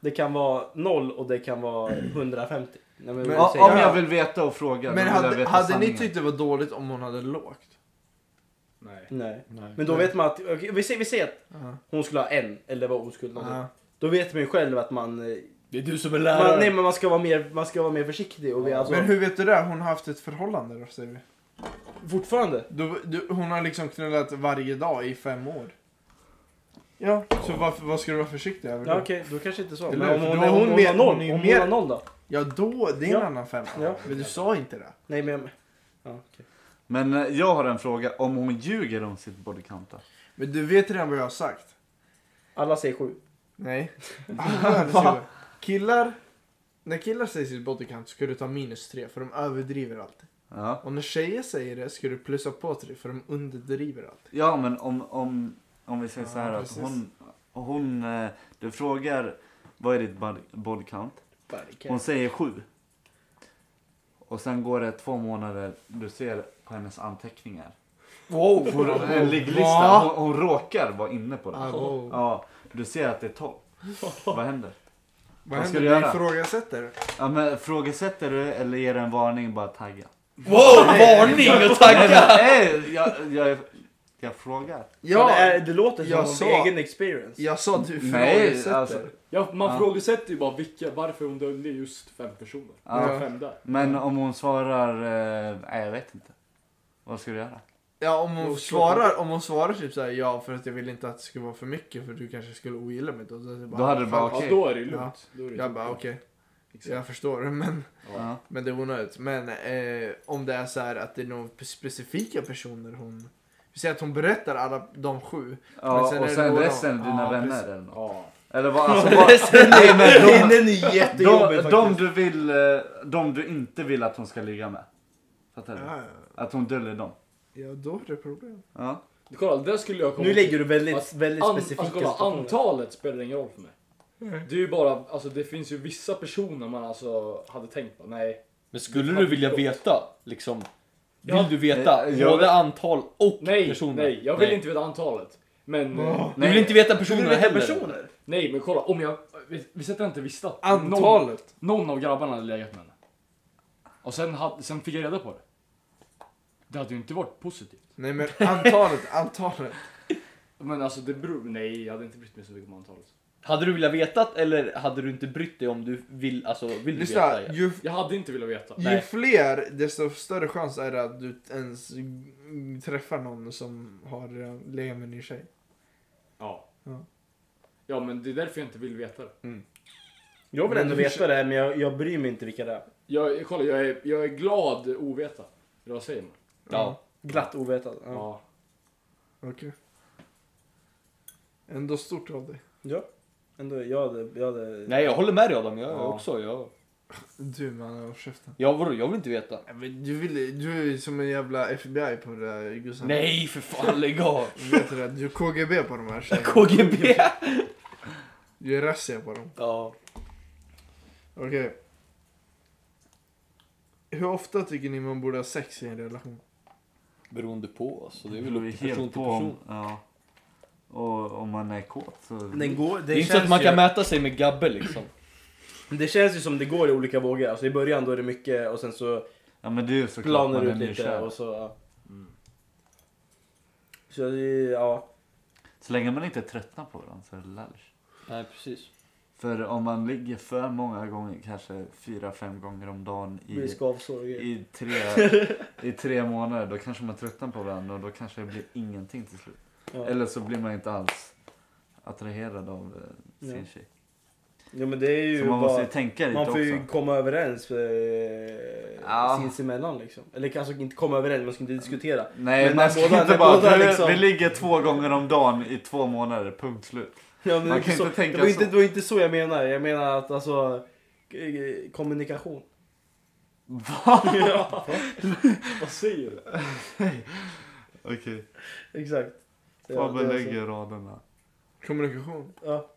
S1: Det kan vara 0 och det kan vara 150. Nej, men,
S3: Men-
S1: vad
S6: Ja,
S1: säger
S6: om
S1: du?
S6: jag vill veta och fråga,
S3: Men,
S6: då vill jag
S3: hade,
S6: veta
S3: hade
S6: sanningen.
S3: ni tyckt det var dåligt om hon hade lågt?
S4: Nej.
S1: Nej.
S2: Nej.
S1: Men då vet man att, okej, vi, säger, vi säger att
S3: Ja.
S1: hon skulle ha en eller vara oskuld någon.
S3: Ja.
S1: Då vet man ju själv att man, eh,
S2: Det är du som är
S1: man, nej,
S2: lärare.
S1: men man, ska vara mer, man ska vara mer försiktig. Och vi, alltså,
S3: Men hur vet du det? Hon har haft ett förhållande då, säger vi.
S1: Fortfarande.
S3: Du, du, hon har liksom knullat varje dag i fem år. Ja, så varför, vad ska du vara försiktig över då?
S1: Ja, okej, då kanske inte så.
S3: Eller
S1: Men
S3: hur?
S1: om hon,
S3: För då-
S1: om
S3: hon
S1: hon
S3: vet-
S1: har noll,
S3: hon är
S1: om
S3: ju
S1: hon
S3: mer-
S1: har noll då?
S3: Ja, då, det är en
S1: Ja.
S3: annan femma.
S1: Ja.
S3: Men du sa inte det.
S1: Nej men... Ja, okej.
S6: Men eh, jag har en fråga, om hon ljuger om sitt bodycount då?
S3: Men du vet redan vad jag har sagt.
S1: Alla säger sju.
S3: Nej. Ah, va? killar, när killar säger sitt bodycount ska du ta minus tre för de överdriver alltid.
S6: Ja.
S3: Och när tjejer säger det ska du plussa på tre för de underdriver alltid.
S6: Ja, men om, om, om vi säger så här
S3: Ja,
S6: att
S3: precis.
S6: hon, hon... eh, Du frågar vad är ditt bod- body count? Hon säger sju. Och sen går det två månader, du ser på hennes anteckningar.
S2: Wow.
S6: Hon, en ligglista. Oh.
S3: Va?
S6: Hon, hon råkar vara inne på
S3: Ah,
S6: det.
S3: wow.
S6: Ja, du ser att det är tolv. Vad händer?
S3: Vad
S6: Vad ska
S3: händer?
S6: du
S3: Du
S6: göra?
S3: ifrågasätter.
S6: Ja, men, frågesätter du eller ger du en varning bara tagga?
S2: Wow, varning och tagga!
S6: Nej, jag, jag, jag frågar.
S1: Ja, det, är,
S3: Ja,
S1: det låter
S3: jag
S1: som
S3: sa-
S1: en egen experience.
S3: jag sa att du
S6: Nej,
S3: ifrågasätter.
S6: alltså.
S4: Ja, man
S6: Ja.
S4: frågesätter ju bara vilka, varför hon dömde just fem personer.
S6: Ja.
S4: Ja. Fem där.
S6: Men om hon svarar, eh, nej jag vet inte. Vad ska du göra?
S3: Ja, om
S4: Jo,
S3: hon,
S4: så-
S3: svarar, om hon svarar typ såhär ja för att jag vill inte att det ska vara för mycket för du kanske skulle ogilla mig. Då, då, är det
S6: Då hade du bara,
S3: fan,
S6: okej.
S4: Ja, då är det ju lugnt. Då är det ju
S3: Jag
S4: lugnt.
S3: bara okej,
S4: Exakt.
S3: jag förstår men,
S6: Ja.
S3: men det är onödigt. Men eh, om det är så här att det är några specifika personer hon... Vi säger att hon berättar alla de sju.
S6: Ja,
S3: Men sen är
S6: och
S3: det
S6: sen
S3: då
S6: resten
S3: de-
S6: är dina
S3: Ja,
S6: vänner
S3: precis.
S6: eller något.
S4: Ja.
S6: Eller vad, alltså, vad,
S3: Nej men
S6: de-
S3: den är
S6: de,
S3: jättejobbig
S6: de,
S3: faktiskt.
S6: du vill, eh, de du inte vill att hon ska ligga med. Fattar du?
S3: Ja, ja.
S6: Att hon döljer dem.
S3: Ja, då är det problem.
S6: Ja.
S4: Kolla, där skulle jag komma
S1: nu lägger du väldigt,
S4: Att-
S1: väldigt
S4: An,
S1: specifika
S4: alltså, kolla,
S1: situationer.
S4: antalet spelar ingen roll för mig. Det är ju bara, alltså det finns ju vissa personer man alltså hade tänkt på, nej.
S2: Men skulle du vilja veta, liksom,
S4: Ja.
S2: vill du veta
S6: Eh, jag-
S2: både antal och
S4: Nej,
S2: personer?
S4: nej, jag vill inte veta antalet. Men, eh,
S2: Du vill inte veta personerna
S1: Personer,
S2: heller?
S1: personer.
S4: nej men kolla, om jag, vi- vi sätter inte visste att någon,
S3: Antalet?
S4: någon av grabbarna hade legat med henne. Och sen, hade- sen fick jag reda på det. Det hade ju inte varit positivt.
S3: Nej men antalet, antalet.
S4: Men alltså det beror, nej jag hade inte brytt mig så mycket om antalet.
S2: Hade du velat veta eller hade du inte brytt dig om du vill, alltså, vill du
S3: Lyssna,
S2: veta? ja?
S3: ju,
S4: Jag hade inte velat veta.
S3: ju
S2: Nej.
S3: fler desto större chans är det att du ens mm, träffar någon som har eh, redan legat med en ny tjej.
S4: Ja.
S3: Ja.
S4: Ja men det är därför jag inte vill veta det.
S1: Jag vill
S3: Men
S6: Mm.
S1: ändå
S3: du
S1: veta det här, men jag, jag bryr mig inte vilka det är.
S4: Jag, kolla, jag är, jag är glad oveta. Eller vad säger man?
S2: Ja.
S1: Glatt ovetande. Ja.
S4: Ja.
S3: Okej. Ändå stort av dig.
S1: ja. Ändå, jag hade... Jag hade...
S2: Nej jag håller med dig Adam, jag
S4: Ja.
S2: också. Jag...
S3: Du man, håll käften.
S2: Ja vadå, jag vill inte veta.
S3: Nej, men Du, vill, du är som en jävla FBI på det där Gustav.
S2: Nej för fan lägg av.
S3: Du Vet du det? Du är KGB på de här tjejerna.
S2: KGB.
S3: Du är razzia på dem.
S2: Ja.
S3: Okej. Hur ofta tycker ni man borde ha sex i en relation?
S2: Beroende på alltså. Det är väl
S6: beror ju
S2: upp till person
S6: helt
S2: till
S6: på om,
S2: person.
S6: ja. Och om man är kåt så...
S1: Den går, det,
S2: Det är inte så
S1: känns
S2: att man kan
S1: ju,
S2: mäta sig med Gabbe liksom.
S1: det känns ju som det går i olika vågor. Alltså, I början då är det mycket och sen så
S6: Ja men det är ju Mm. såklart
S1: planar
S6: man
S1: det
S6: är
S1: ut lite.
S6: nykär.
S1: Och så, ja. så det, är- ja.
S6: Så länge man inte tröttnar på dem så är det lalsch.
S2: Nej precis.
S6: För om man ligger för många gånger, kanske fyra, fem gånger om dagen
S1: Det blir
S6: i,
S1: skavsår och grejer.
S6: i, tre, i tre månader, då kanske man tröttnar på varandra och då kanske det blir ingenting till slut.
S1: Ja.
S6: Eller så blir man inte alls attraherad av eh, sin
S1: Ja.
S6: tjej.
S1: Ja, men det är ju
S6: Så man måste
S1: bara...
S6: ju tänka lite
S1: Man får ju
S6: också.
S1: komma överens eh,
S6: Ja.
S1: sinsemellan liksom. Eller kanske inte komma överens, man ska inte diskutera.
S6: Nej,
S1: Men
S6: man
S1: när
S6: ska
S1: båda-
S6: inte
S1: när
S6: bara...
S1: båda
S6: "Du,
S1: liksom-
S6: Vi ligger två gånger om dagen i två månader, punkt slut.
S1: Ja, men
S6: Man
S1: det var
S6: kan
S1: så-
S6: inte tänka
S1: det var Inte,
S6: så.
S1: det var inte så jag menar. Jag menar att alltså eh, kommunikation. ja,
S4: Vad säger du?
S6: Okej,
S1: exakt. Ja, det
S6: Fabian
S1: var så.
S6: lägger raderna.
S3: Kommunikation.
S1: Ja.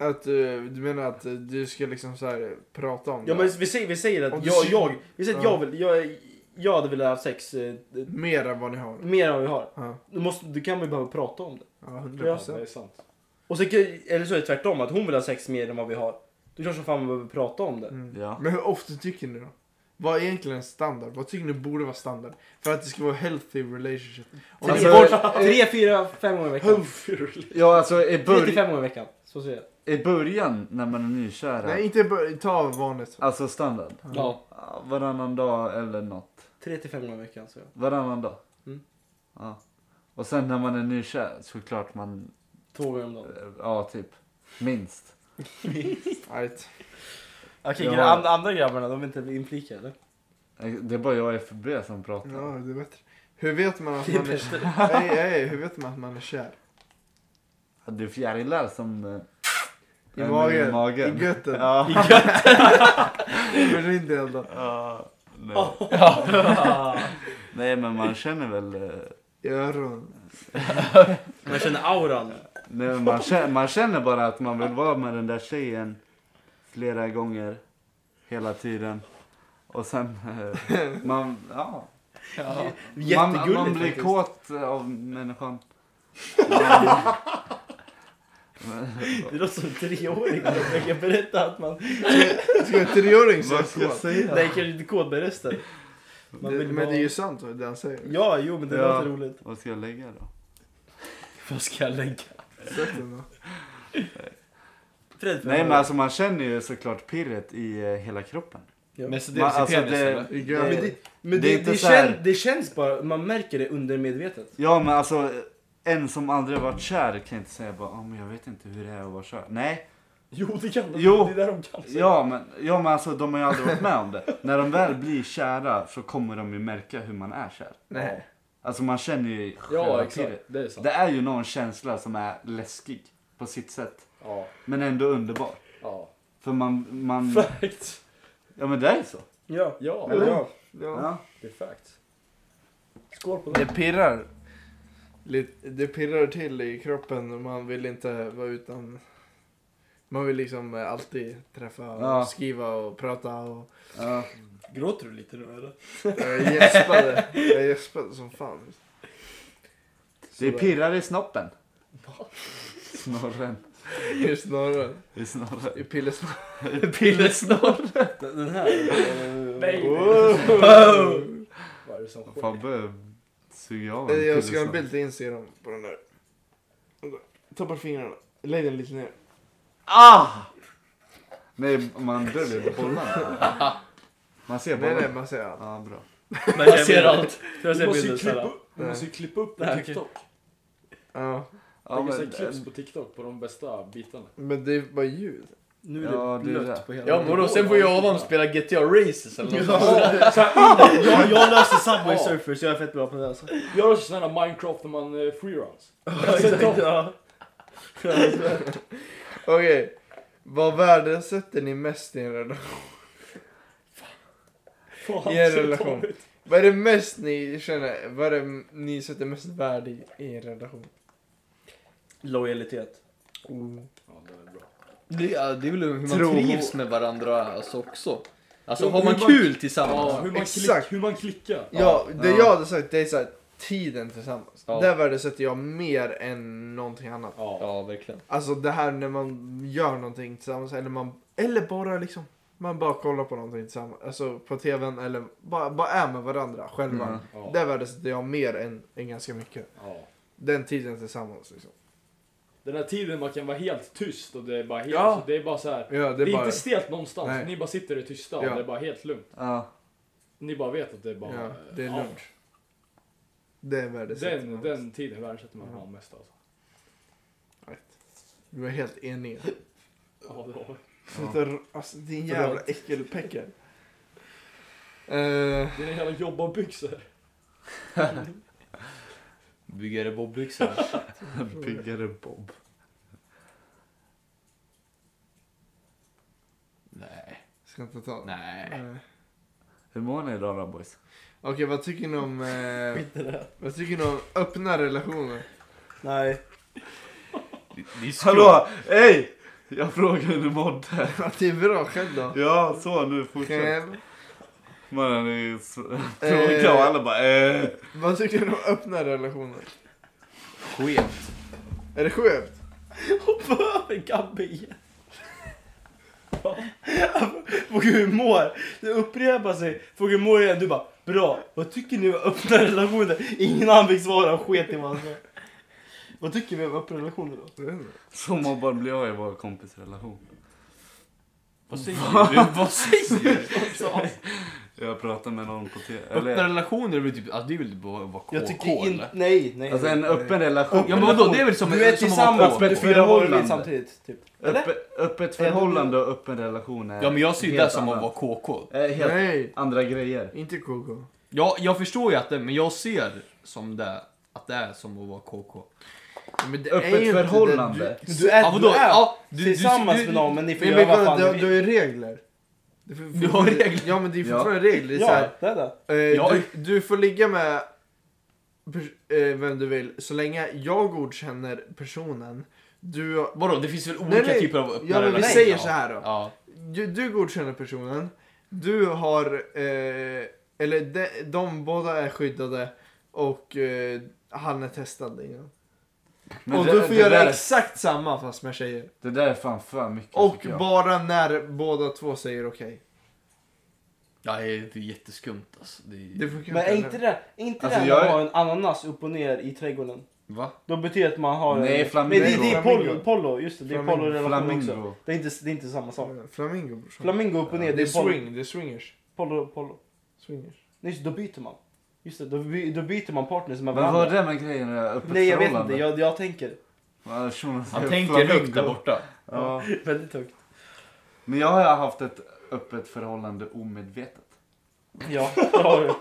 S3: Att eh, du menar att eh, du ska liksom så här eh, prata om
S1: ja,
S3: det?
S1: men vi säger, vi säger
S3: Om
S1: att
S3: du
S1: jag,
S3: ser-
S1: jag, vi säger att
S3: Ja.
S1: jag, vill, jag, jag hade velat ha sex eh, eh,
S3: Mer än vad ni har?
S1: mer än vad vi har.
S3: Ja,
S1: Då, måste, då kan vi behöva prata om det.
S3: ja 100%.
S4: Ja, det är sant.
S1: Och så, kan- eller så är det tvärtom, att hon vill ha sex mer än vad vi har. Då kanske fan vi behöver prata om det.
S3: Mm.
S6: Ja.
S3: Men hur ofta tycker ni då? Vad är egentligen standard? Vad tycker ni borde vara standard? För att det ska vara healthy relationship. Om
S1: Tre,
S3: ni-
S1: bort, tre, fyra, fem gånger i veckan.
S6: Alltså, Ja, alltså i,
S1: Tre till
S6: bör-
S1: fem gånger i veckan. Så säger jag.
S6: i början när man är nykära,
S3: Nej, inte bör- ta vanligt.
S6: alltså standard.
S2: Ja.
S6: Ja, Varannan dag eller något.
S1: Tre till fem gånger i veckan. Så jag.
S6: Varannan dag.
S1: Mm.
S6: Ja. Och sen när man är nykär såklart man,
S1: Två gånger om dagen.
S6: eh, ja typ, minst.
S3: Right.
S1: Okej,
S6: Ja.
S1: gra- and- andra grabbarna, de är inte inflikade eller?
S6: Eh, Det är bara jag och FB som pratar.
S3: Ja, det är bättre. Hur vet man att
S1: Det är
S3: man är kär? Ey, ey, hur vet man att man är kär?
S6: Det är fjärilar som... eh,
S3: I
S6: är med
S3: magen.
S6: I magen.
S3: I götten.
S6: Ja.
S3: För din del då?
S6: Ja, nej. nej men man känner väl... eh,
S3: I öronen.
S1: Man känner auran.
S6: Nej, men man, känner, man känner bara att man vill vara med den där tjejen flera gånger hela tiden. Och sen... eh, Man, ja, man, man blir
S1: faktiskt.
S6: kåt av människan.
S1: Det låter som en treåring som försöker berätta att man...
S3: Ska en treåring säga
S6: Vad ska jag
S3: så?
S6: säga?
S1: Nej, kanske inte kod berättar. Man
S3: Det-
S1: vill
S3: Men
S1: vara... Mm.
S3: det är ju sant vad det han säger.
S1: Ja, jo men det
S6: Ja.
S1: låter roligt.
S6: Vad ska jag lägga då?
S2: Vad ska jag lägga?
S3: Sätt den då.
S1: Fred,
S6: Nej men alltså man känner ju såklart pirret i eh, hela kroppen.
S1: Ja.
S2: Men
S1: Men,
S2: så
S6: Man-
S2: deras i
S6: alltså,
S2: penis
S6: det-
S2: eller?
S3: I
S1: men,
S3: götten.
S1: det, men
S6: det är
S1: det,
S6: inte
S1: det,
S6: så här-
S1: kän, det känns bara, man märker det undermedvetet.
S6: Ja men alltså en som aldrig varit kär kan inte säga bara "Ah, men jag vet inte hur det är att vara kär. Nej,
S4: Jo, det kan de.
S6: Jo.
S4: Det är där de kan. säga.
S6: ja men, ja, men alltså de har ju aldrig varit med om det. När de väl blir kära så kommer de ju märka hur man är kär.
S3: Nej.
S6: Alltså man känner ju själva
S4: Ja,
S6: pirret.
S4: exakt. Det är sant.
S6: Det är ju någon känsla som är läskig på sitt sätt.
S4: Ja,
S6: Men ändå underbar.
S4: ja.
S6: För man, man...
S4: Fact.
S6: Ja men det är ju så.
S1: Ja.
S4: Ja,
S1: Eller ja.
S3: Ja.
S4: det är fact. Skål på det.
S3: Det pirrar. Lite- Det pirrar till i kroppen och man vill inte vara utan... Man vill liksom eh, alltid träffa och
S6: Ja.
S3: skriva och prata och...
S6: Ja.
S1: Gråter du lite då eller?
S3: Jag gäspade. Jag gäspade som fan.
S6: Det pirrar i snoppen. Snorren.
S3: I snorren.
S6: I snorren.
S3: I pillesnorren.
S1: Pillesnorren. Den här. eh,
S4: Nej.
S1: Wow.
S4: Vad är det som sker?
S6: Fabbe suger av
S3: Eh,
S6: en
S3: Jag ska ha en
S6: pillesnopp.
S3: bild till Instagram på den där. Ta bort fingrarna. Lägg den lite ner.
S6: Ah! Nej, man döljer bollarna. Man ser
S3: Nej, nej,
S6: bollarna.
S3: man ser allt.
S6: Ja, bra.
S1: Jag
S2: ser allt.
S1: Jag
S4: Du
S1: ser
S4: måste ju
S1: bilden
S4: klippa
S1: såhär.
S4: upp, du måste ju klippa upp på
S1: Nej, okej.
S4: TikTok.
S3: Ja.
S6: Ja,
S4: Lägga sig
S6: men,
S4: clips på TikTok på de bästa bitarna.
S3: Men det är bara ljud.
S1: Nu är
S6: Ja,
S1: det
S6: det är
S1: blött
S6: det.
S1: på hela
S2: Ja men då, sen får jag och Adam spela GTA Races eller något sånt.
S1: jag, jag löser Subway
S4: Ja.
S1: Surfers, jag är fett bra på det alltså.
S4: Gör oss sådana här Minecraft när man eh, free runs.
S1: Ja, exakt, ja.
S3: Okej. Vad värdesätter ni mest i en relation?
S4: Fan,
S3: I en
S4: så dåligt.
S3: relation. Vad är det mest ni känner? Vad är det ni sätter mest värde i, i en relation?
S1: Lojalitet.
S3: Oh.
S4: Ja, det är bra.
S2: Det, ja, det är väl hur man
S3: Tro-
S2: trivs med varandra alltså, också. Alltså
S4: Jo,
S2: har
S4: hur
S2: man
S4: man-
S2: kul tillsammans.
S4: Ja, hur man,
S3: Exakt.
S4: klick, hur man klickar.
S3: Ja, det
S6: Ja.
S3: jag hade sagt det är så här, tiden tillsammans.
S2: Ja.
S3: Där värdesätter jag mer än någonting annat.
S4: Ja.
S2: Ja, verkligen.
S3: Alltså det här när man gör någonting tillsammans eller man eller bara liksom man bara kollar på någonting tillsammans, alltså på tvn eller bara, bara är med varandra själva.
S6: Mm.
S4: Ja.
S3: Där värdesätter jag mer än, än ganska mycket.
S4: Ja.
S3: Den tiden tillsammans liksom.
S4: Den här tiden man kan vara helt tyst och det är bara helt,
S3: Ja.
S4: alltså, det är bara så här.
S3: Ja,
S4: Det
S3: det
S4: är,
S3: är bara...
S4: inte stelt någonstans,
S3: Nej.
S4: ni bara sitter i det tysta
S3: Ja.
S4: och det är bara helt lugnt.
S6: eh, Ja.
S4: Ni bara vet att det är bara...
S3: Ja, det är
S4: ja.
S3: lugnt. Det är värdesätter
S4: Den,
S3: man.
S4: den tiden värdesätter man ja. mest alltså.
S3: Vi var helt eniga.
S4: Ja, det var-
S3: Ja. Alltså din jävla äckelpäckel. Eh,
S4: Dina jävla jobbarbyxor.
S2: Byggare bobbyxor.
S6: Byggare Bob.
S2: nej,
S3: ska inte ta den.
S2: nej.
S3: Eh,
S6: Hur mår ni idag då boys?
S3: Okej, vad tycker ni om... eh, vad tycker ni om öppna relationer?
S1: Nej.
S2: Det, det är skoj.
S6: Hallå! Hej! Jag frågar hur ni mådde.
S3: det är bra, själv då?
S6: Ja, så nu fortsätt.
S3: Själv?
S6: Mannen är s-
S3: Eh.
S6: tråkig och alla bara eh.
S3: Vad tycker du om öppna relationer?
S2: Skevt.
S3: Är det skevt?
S1: Hoppa över Gabbe igen. Fråga hur mår. Det upprepar sig. Fråga hur mår igen. Du bara bra. Vad tycker ni om öppna relationer? Ingen annan fick svara. Han sket i vad han sa. Vad tycker vi om öppna relationer då?
S3: Jag vet inte.
S6: Så mobbad blir jag i vår kompisrelation.
S2: Vad säger du? Vad säger du?
S6: Jag pratar med någon på tv.
S2: Öppna
S6: Eller,
S2: relationer är väl typ, alltså, det är väl bara att vara
S1: Jag
S2: KK,
S1: tycker
S2: eller?
S1: inte... Nej, nej.
S6: alltså en
S1: nej.
S6: öppen relation.
S2: Ja men vadå, det är väl som,
S1: Du är
S2: som att vara
S1: tillsammans
S2: KK?
S1: med
S6: Öppet
S1: fyra
S6: förhållande.
S1: borgerligt samtidigt. Typ. Eller?
S6: Öppe, öppet förhållande och öppen relation är
S2: Ja men jag ser ju
S6: helt
S2: det som att
S6: annat.
S2: vara KK.
S6: Eh, helt
S3: Nej,
S6: andra grejer.
S3: inte KK.
S2: Ja, jag förstår ju att det, men jag ser som det, att det är som att vara KK.
S3: Men det är ju
S6: Öppet
S3: inte det.
S6: förhållande.
S1: Men Du är,
S2: Ja,
S1: du
S2: vadå?
S1: är
S2: Ja, du- du-
S1: tillsammans
S2: du-
S1: med någon men ni
S3: Du,
S1: får
S3: men
S1: göra
S3: men
S1: vad
S3: kolla,
S1: fan
S3: du,
S1: ni
S3: har-
S1: vill.
S3: du har ju regler. Det är för-
S2: Du har regler.
S3: Ja men det är fortfarande regler. Det är så här,
S1: Ja, det är det.
S3: Eh,
S2: Ja.
S3: du, du får ligga med pers- eh, vem du vill så länge jag godkänner personen. Du,
S2: Vadå, det finns väl olika
S3: Nej, nej.
S2: typer av öppna
S3: Ja, men vi
S2: relationer?
S3: säger så här då.
S2: Ja.
S3: du, du godkänner personen. Du har... Eh, eller de, de båda är skyddade och eh, han är testad innan.
S6: Men
S3: och
S6: det,
S3: du får
S6: det
S3: göra
S6: där, är-
S3: exakt samma fast med tjejer.
S6: Det där är fan för mycket
S3: Och
S6: tycker jag.
S3: bara när båda två säger okej.
S2: Ja, det är det är jätteskumt alltså. Det är...
S3: Det funkar
S1: Men är
S3: eller?
S1: inte det, är inte
S6: Alltså,
S1: det
S6: jag
S1: när man
S6: är-
S1: har en ananas upp och ner i trädgården?
S2: Va?
S1: Då betyder det att man har...
S6: Nej,
S1: en...
S6: flamingo.
S1: Nej, det, det är
S3: Flamingo.
S1: polo, polo. Just det, det är
S3: Flamingo. Mm.
S1: polorelation också.
S6: Flamingo.
S1: Det är, inte, det är inte samma sak.
S3: Flamingo brorsan.
S1: Flamingo upp och ner,
S3: det är
S1: det är polo.
S3: swing, det är swingers.
S1: polo, polo.
S3: swingers.
S1: Nej, just det, då byter man. Just det, då, by, då byter man partners med
S6: Men vad var
S1: varandra.
S6: det med grejen? där, Öppet
S1: Nej, jag vet
S6: förhållande?
S1: inte. Jag, jag tänker
S6: Ja, shunon säger
S2: Han tänker högt
S6: flamingo.
S2: där borta.
S6: Ja.
S1: väldigt högt.
S6: Men jag har haft ett öppet förhållande omedvetet.
S1: Ja, det har du.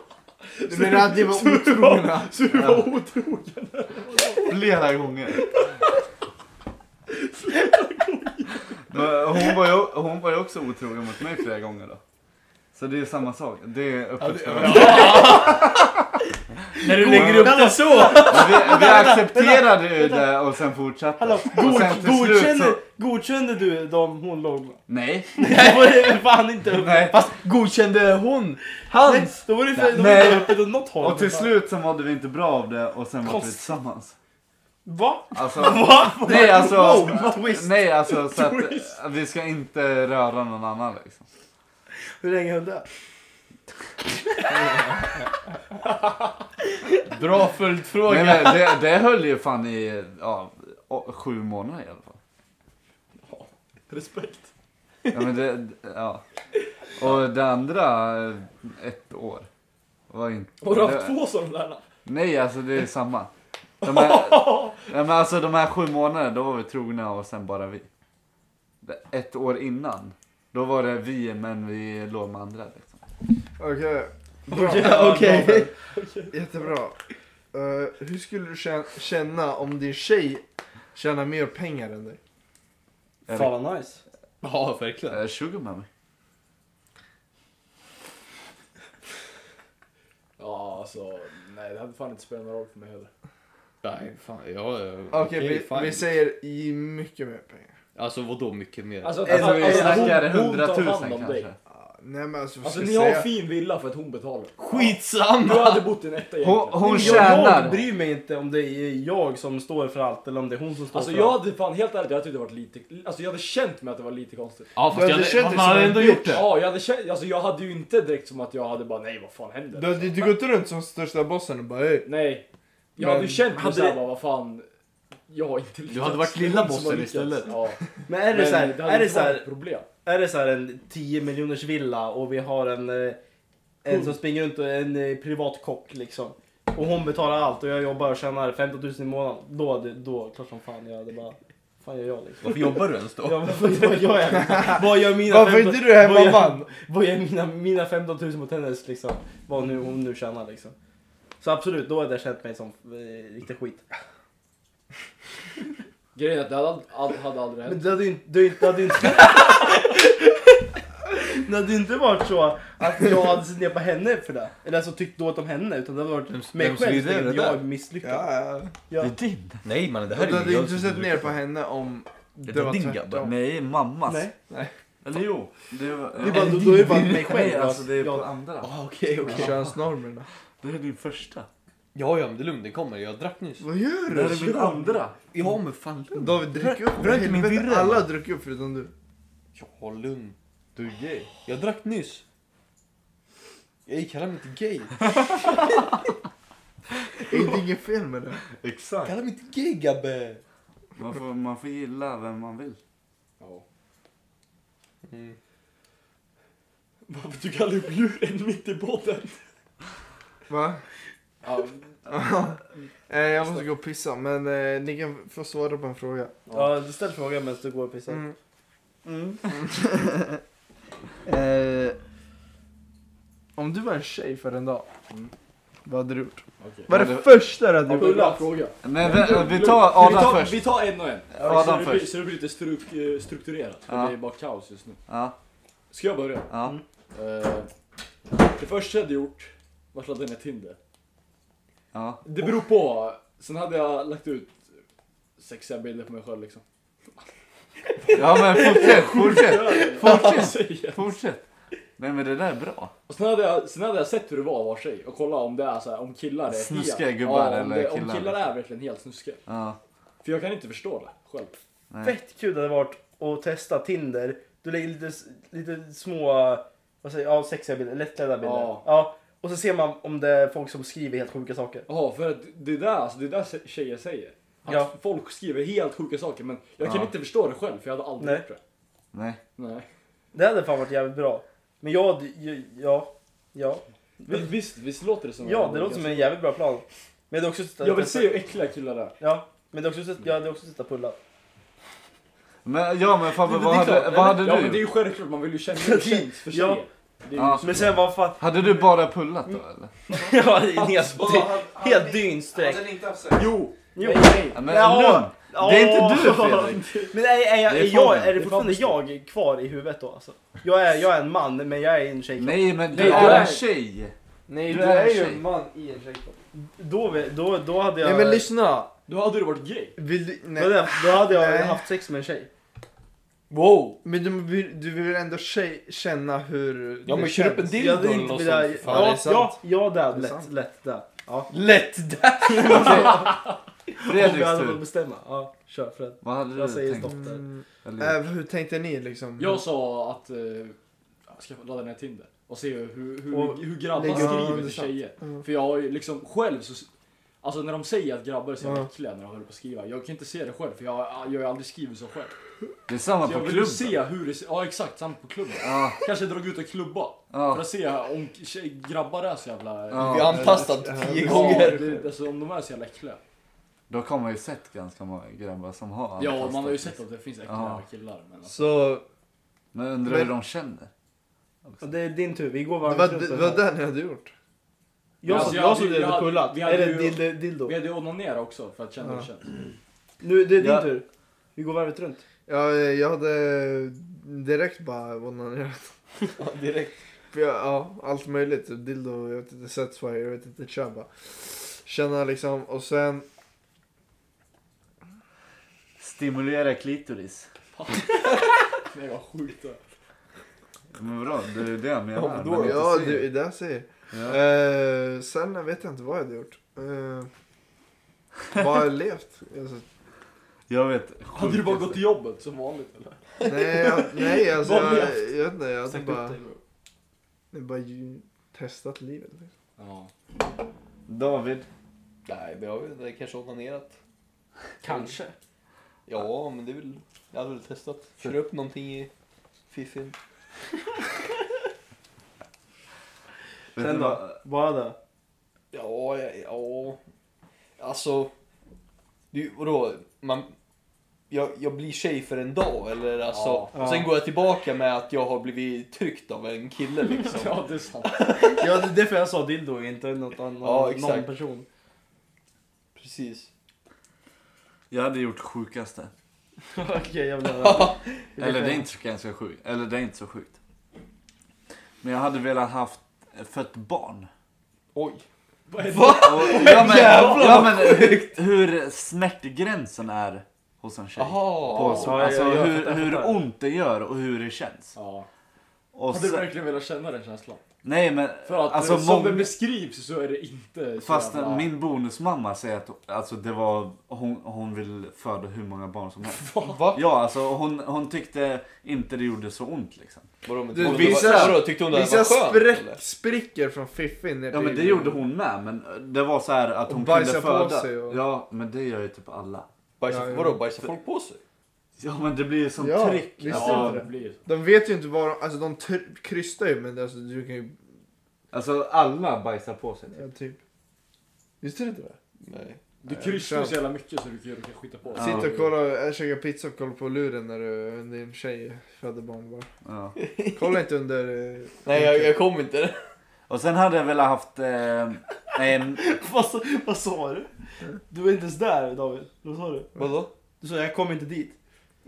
S3: Du menar att ni var otrogna?
S4: Så du var otrogen?
S6: Flera gånger. Men hon, var ju, hon var ju också otrogen mot mig flera gånger då. Så det är samma sak. Det är öppet förhållande.
S2: När du lägger upp det så!
S6: Men Vi, vi accepterade ju det och sen fortsatte.
S1: Hallå,
S6: och
S1: god,
S6: sen till slut
S1: godkände,
S6: så...
S1: godkände du dem hon låg med?
S6: Nej.
S1: Nej, då var det väl fan inte öppet.
S6: Nej.
S2: Fast godkände hon
S1: Nej,
S2: hans?
S1: Då var det för, då var
S6: Nej.
S1: det inte öppet åt något håll.
S6: Och till slut så mådde vi inte bra av det och sen var vi
S1: Konstigt.
S6: tillsammans.
S1: Va?
S6: Alltså, nej alltså,
S1: Wow, twist.
S6: nej alltså så att eh, vi ska inte röra någon annan liksom.
S1: Hur länge höll det?
S2: Bra
S6: Nej,
S2: följdfråga.
S6: men det, det höll ju fan i ja, å- sju månader i alla fall.
S4: Respekt.
S6: Ja, men det, ja. Och det andra, eh, ett år. Var inte,
S4: Har du haft
S6: det,
S4: två sådana där?
S6: Nej alltså det är samma. De här, ja, men alltså de här sju månaderna då var vi trogna och sen bara vi. Det- Ett år innan, då var det vi men vi låg med andra liksom.
S3: Okej.
S1: Ja, okej.
S3: Jättebra. Eh, hur skulle du kä- känna om din tjej tjänar mer pengar än dig?
S1: Fan vad nice.
S2: Ja, verkligen.
S6: Eh, Sugar Mummy.
S4: Ja, alltså. Nej, det hade fan inte spelat någon roll för mig heller.
S2: Nej, fan. Ja, ja,
S3: Okej, vi,
S2: fine.
S3: vi säger i mycket mer pengar.
S2: Alltså vadå mycket mer?
S4: Alltså, att-
S6: Alltså,
S4: att-
S6: vi
S4: alltså, hon-
S6: snackar
S4: hon tar hand om
S6: 100 000
S4: dig.
S6: kanske.
S3: Ja, Nej men alltså, vad
S4: Alltså
S3: ska
S4: ni
S3: jag
S4: har
S3: säga?
S4: en fin villa för att hon betalar. Du
S2: Skitsamma!
S4: hade bott i en etta
S6: Hon,
S4: egentligen.
S6: hon
S1: jag, jag
S6: tjänar.
S1: bryr mig inte om det är jag som står för allt eller om det är hon som står
S4: Alltså
S1: för
S4: jag
S1: allt.
S4: hade fan, helt ärligt, jag hade tyckt det varit lite... Alltså jag hade känt mig att det var lite konstigt.
S2: Ja
S3: Du hade
S2: fast
S3: känt
S2: jag hade, man
S3: dig som
S2: hade
S3: en
S2: ändå
S3: bitch.
S2: gjort det.
S4: Ja, jag hade känt... Alltså jag hade ju inte direkt som att jag hade bara, nej vad fan händer?
S3: Du hade inte gått runt som största bossen och bara "Ey,
S4: Nej. Jag
S3: Men-
S4: hade ju känt mig
S1: Hade
S4: såhär
S1: det-
S4: bara, vad fan. Jag har inte lyckats.
S2: hade varit
S4: Det är
S2: lilla
S4: hon som har
S2: bossen
S4: lyckats.
S2: istället.
S4: Ja.
S1: Men är det
S4: Men
S1: så här,
S4: det hade
S1: är det
S4: inte
S1: så
S4: varit
S1: här,
S4: ett problem.
S1: är det så här en 10 miljoners villa och vi har en, eh, en som springer runt och en eh, privat kock liksom. Och hon betalar allt och jag jobbar och tjänar 15 000 i månaden. Då, hade- då klart som fan jag hade bara, fan gör jag liksom?
S2: Varför jobbar du ens då?
S1: Ja, men vad- vad gör jag? Vad gör mina
S3: Varför är
S1: 15
S3: inte du hemma
S1: vad gör-
S3: man?
S1: Vad gör mina, mina 15 000 mot hennes liksom? Vad nu, hon nu tjänar liksom. Så absolut, då hade jag känt mig som eh, riktigt skit.
S4: Grejen är att det hade, ald- ald- hade aldrig
S1: Men
S4: hänt.
S1: det hade ju inte... Det hade ju inte, det hade ju inte, det hade ju inte varit så att jag hade sett ner på henne för det. Eller alltså tyckt dåligt om henne. Utan det hade
S2: Vem-
S1: varit mig
S2: vems
S1: själv
S2: idé är
S1: som
S2: det
S1: jag
S2: där?
S1: är misslyckad.
S3: Ja, ja.
S1: Ja.
S6: din.
S2: Nej mannen det
S3: Du
S2: här är
S3: hade
S2: ju
S3: inte sett ner på henne om
S2: Det
S3: det,
S2: är
S3: var
S2: din
S3: tvärtom.
S2: gabbe.
S6: Nej, mammas.
S1: Nej.
S6: Eller jo. Det var,
S1: Det är bara, då, då är det bara mig
S6: Nej,
S1: själv.
S6: alltså det är på
S1: jag,
S6: andra.
S2: Ah, Okej okej.
S3: Könsnormerna.
S6: Det är din första.
S2: Ja ja men det är lugnt den kommer. Jag drack nyss.
S3: Vad gör
S6: Det
S3: du?
S6: här är min andra.
S2: Ja men fan lugn.
S3: David, drick upp.
S6: Rör inte min
S3: Helvete,
S6: virre.
S3: Alla har druckit upp förutom du.
S2: Ja lugn.
S6: Du är gay.
S2: Jag drack nyss. Jag kallar mig inte gay.
S3: Det är inget fel med det.
S6: Exakt.
S2: Kalla mig inte gay gabbe.
S6: Man får, man får gilla vem man vill.
S4: Ja.
S2: Mm.
S4: Varför tog aldrig upp djuren mitt i båten?
S3: Va?
S4: Ja,
S3: Eh, jag måste gå och pissa, men eh, ni kan få svara på en fråga.
S1: ja, ställ frågan medan du går och pissar.
S3: Mm. eh, om du var en tjej för en dag,
S4: Mm.
S3: vad hade du gjort?
S4: okej.
S3: Vad är
S6: Ja,
S3: det
S6: det-
S3: första du hade gjort?
S4: Ulla, fråga.
S6: Men eh, vi, vi tar Adam först.
S4: Vi tar en och en.
S6: Adam
S4: så, det blir,
S6: först.
S4: så det blir lite struk, eh, strukturerat. För
S6: Ja.
S4: Det är bara kaos just nu.
S6: Ja,
S4: Ska jag börja?
S6: ja.
S4: Eh, det första jag hade gjort var att ladda ner Tinder.
S6: ja.
S4: Det beror på. Sen hade jag lagt ut sexiga bilder på mig själv liksom.
S6: Ja men fortsätt, fortsätt. Fortsätt.
S4: Säger.
S6: Fortsätt. Nej men det där är bra.
S4: Och sen hade, jag, sen hade jag sett hur det var var sig och kolla om det är så här, om killar är
S6: Snuskiga
S4: helt...
S6: gubbar
S4: ja, om
S6: eller
S4: det, Om
S6: killar.
S4: killar är verkligen helt snuskiga.
S6: Ja.
S4: För jag kan inte förstå det själv.
S6: Nej.
S1: Fett kul det hade varit att testa Tinder. Du lägger lite, lite små, vad säger jag, ja, sexiga bilder, lättklädda bilder.
S4: Ja.
S1: Ja. Och så ser man om det är folk som skriver helt sjuka saker.
S4: Ja, för att det är där, alltså, det är där tjejer säger. Att
S1: Ja.
S4: folk skriver helt sjuka saker men jag kan
S6: Ja.
S4: inte förstå det själv för jag hade aldrig
S1: Nej.
S4: gjort det.
S6: Nej.
S4: Nej.
S1: Det hade fan varit jävligt bra. Men jag, ja, ja.
S4: Men visst, visst låter det som
S1: Ja, det låter som en jävligt bra plan. Men det är också sett
S4: Jag vill se hur äckliga killar är.
S1: Ja, men det är också sett, jag hade också sett att pulla.
S6: Men, ja men Fabbe,
S1: Det- det
S6: vad
S1: är
S6: hade,
S1: klart,
S6: vad
S4: Ja
S6: hade du
S4: men det är
S6: gjort?
S4: ju självklart, man vill ju känna hur det känns för
S1: Ja.
S4: tjejer. Det är ju
S6: Ja.
S4: så.
S1: Men sen vad fan,
S6: Hade du bara pullat då eller?
S1: ja, det är helt, helt dygnsträck.
S5: Hade ni inte haft sex?
S4: Jo!
S1: Jo.
S4: Nej, nej.
S6: Ja, men
S1: Ja.
S6: lugn! Det är inte du Fredrik!
S1: Men är, är, jag,
S6: Det
S1: är,
S6: är
S1: jag,
S6: fan-
S1: är det
S4: det är
S1: fortfarande jag kvar i huvudet då alltså? Jag är, jag är en man, men jag är en tjej.
S6: Nej men
S4: Nej,
S6: du
S4: du
S6: är
S4: är-
S6: en tjej!
S3: Nej,
S6: Du är en tjej.
S3: man i en tjejkropp.
S1: Då, vi- då, då hade jag...
S3: Nej
S4: eh,
S3: men lyssna!
S4: Då hade du varit gay.
S3: Vill du,
S1: Då
S3: nej.
S1: hade- Då hade jag
S3: Nej.
S1: haft sex med en tjej.
S2: Wow!
S3: Men du, vill- du vill ändå tjej, känna hur
S2: Ja
S3: det
S2: men kör upp en
S3: känns.
S1: Jag hade
S2: dildo eller
S1: inte
S2: något
S1: velat...
S2: sånt.
S3: Fan, det är
S1: Ja,
S3: sant.
S1: ja, ja där,
S3: Det är
S1: lätt,
S3: sant.
S1: lätt där. Ja.
S2: Lätt där!
S1: Om jag
S6: Fredriks
S1: hade fått
S6: tur.
S1: bestämma. Ja, kör Fred.
S6: Vad hade
S1: Jag
S6: du
S1: säger
S6: tänkt?
S1: stopp där.
S3: Mm,
S6: Eller-
S3: äh, hur tänkte ni
S1: Mm.
S3: liksom?
S4: Jag sa att eh, jag ska ladda ner Tinder och se hur, hur,
S1: Och
S4: hur grabbar
S3: lägga- Ja,
S4: skriver
S3: det är
S4: till
S3: sant.
S4: tjejer.
S3: Mm.
S4: För jag har ju liksom själv så... Alltså när de säger att grabbar är så jävla
S3: Ja.
S4: äckliga när de håller på att skriva. Jag kan inte se det själv för jag, jag har aldrig skrivit så själv.
S6: Det är samma
S4: Så jag
S6: på
S4: vill ju
S6: klubben.
S4: se hur det ser... Ja exakt, samt på klubben.
S6: Ja,
S4: Kanske dra ut och klubba. För
S6: ja.
S4: att se om tjej, grabbar är så jävla...
S6: Ja.
S2: Vi har antastat tio
S4: Ja,
S2: gånger.
S4: det, alltså om de är så jävla äckliga.
S6: Då har man ju sett ganska många grabbar som har
S4: Ja,
S6: antastat
S4: man har ju
S6: sig.
S4: sett att det finns äckliga
S6: Ja.
S4: killar. Men alltså.
S3: Så
S6: Men undrar hur
S3: Men-
S6: de känner.
S1: Och Det är din tur, vi går
S3: det
S1: varmt
S3: var,
S1: runt
S3: det
S1: den
S3: var
S1: här.
S3: det ni hade gjort?
S1: Jag
S4: Alltså,
S1: som
S4: jag
S1: jag
S4: hade-
S1: som
S4: jag
S1: du hade
S4: hade-
S1: pullat.
S4: vi hade
S1: Eller
S4: ju-
S1: dildo. dildo.
S4: Vi hade ju onanerat också för att känna hur det
S3: Ja.
S4: känns.
S1: Nu, det är din
S6: Ja.
S1: tur. Vi går varvet runt.
S3: Ja, jag hade direkt bara onanerat.
S2: Ja, direkt.
S3: För jag, ja, allt möjligt. Dildo, jag vet inte, Satisfyer, jag vet inte, kör bara. Känna liksom, och sen...
S6: Stimulera klitoris.
S4: Nej vad sjukt det är.
S6: Men vadå, det är det jag menar.
S2: men då-
S6: men inte
S3: Ja,
S6: se.
S3: det är det jag säger.
S6: Ja.
S3: Eh, sen vet jag inte vad jag hade gjort. Eh, vad har jag levt? Alltså,
S6: Jag vet.
S4: Hade du bara gått till jobbet som vanligt eller?
S3: nej, jag, nej, alltså,
S4: Vad
S3: jag,
S4: har du
S3: jag, vet inte. Jag hade
S1: Sagt
S3: bara,
S1: upp dig, bro.
S3: jag bara ju- testat livet. Liksom.
S4: Ja.
S6: David.
S2: Nej, men jag vet inte. Kanske onanerat.
S1: Kanske.
S2: Ja, men det är väl... Jag hade väl testat. Kör upp någonting i fiffin.
S1: Sen
S6: Vet du
S1: då?
S6: vad?
S1: Bara det.
S2: Ja, ja, ja. Alltså... Du, vadå? Man, jag, jag blir tjej för en dag, eller alltså...
S4: Ja.
S1: Ja.
S2: Sen går jag tillbaka med att jag har blivit tryckt av en kille liksom.
S4: Ja det är sant.
S1: Ja, det är därför jag sa dildo, inte något annat,
S2: Ja, exakt.
S1: någon person.
S2: Precis.
S6: Jag hade gjort sjukaste.
S1: Okej, jag vill höra.
S6: Eller det är inte så ganska sjukt. Eller det är inte så sjukt. Men jag hade velat haft fött barn.
S2: Oj.
S4: Vad är
S2: Va?
S6: Och, ja, men,
S2: Jävlar,
S6: ja, men hur, hur smärtgränsen är hos en tjej. På,
S2: Jaha.
S6: så,
S1: Ja, ja,
S6: alltså
S1: ja, jag
S6: hur,
S1: fattar, jag
S6: hur
S1: fattar.
S6: ont det gör och hur det känns.
S4: Ja.
S6: Och
S4: Hade du
S6: så,
S4: verkligen velat känna den känslan?
S6: nej men
S4: För att
S6: alltså
S4: eh, som
S6: många,
S4: den beskrivs så är det inte så
S6: fast
S4: jävla-
S6: min bonusmamma säger att alltså, det var, hon, hon vill föda hur många barn som helst.
S2: Va?
S6: Ja alltså hon, hon tyckte inte det gjorde så ont liksom.
S2: Vadå, men,
S3: Du,
S2: vadå,
S3: vissa-
S2: vadå, vadå, tyckte hon det
S3: Vissa
S2: var skönt?
S3: spräck,
S2: eller?
S3: sprickor från fiffin ner
S6: Ja men det
S3: till-
S6: gjorde hon med men det var så här att
S3: Och
S6: hon
S3: bajsa
S6: kunde
S3: på
S6: föda.
S3: sig och-
S6: Ja men det gör ju typ alla.
S2: Bajsa,
S3: Ja, ja.
S2: Vadå, bajsar folk på sig?
S6: Ja men det blir ju som
S3: Ja,
S6: tryck.
S3: visst
S6: alltså.
S3: är
S4: Ja, det blir så.
S3: De vet ju inte vad de... Alltså de tr- krystar ju men alltså, du kan ju...
S6: Alltså alla bajsar på sig.
S3: Ja, typ. Visste du inte det?
S2: Nej.
S4: Du
S3: Nej,
S4: kryssar
S3: kör.
S4: så jävla mycket så du kan, du kan skita på dig.
S6: Ja.
S3: Sitta och kolla, äh, käka pizza och kolla på luren när du, eh, din tjej föder barn bara.
S6: Ja.
S3: Kolla inte under... eh,
S2: Nej, jag, jag kom inte.
S6: Och sen hade jag velat haft... Eh, en,
S1: vad, sa- vad sa du? Du var inte ens där David. Vad sa du?
S2: Vadå?
S1: Du sa jag kom inte dit.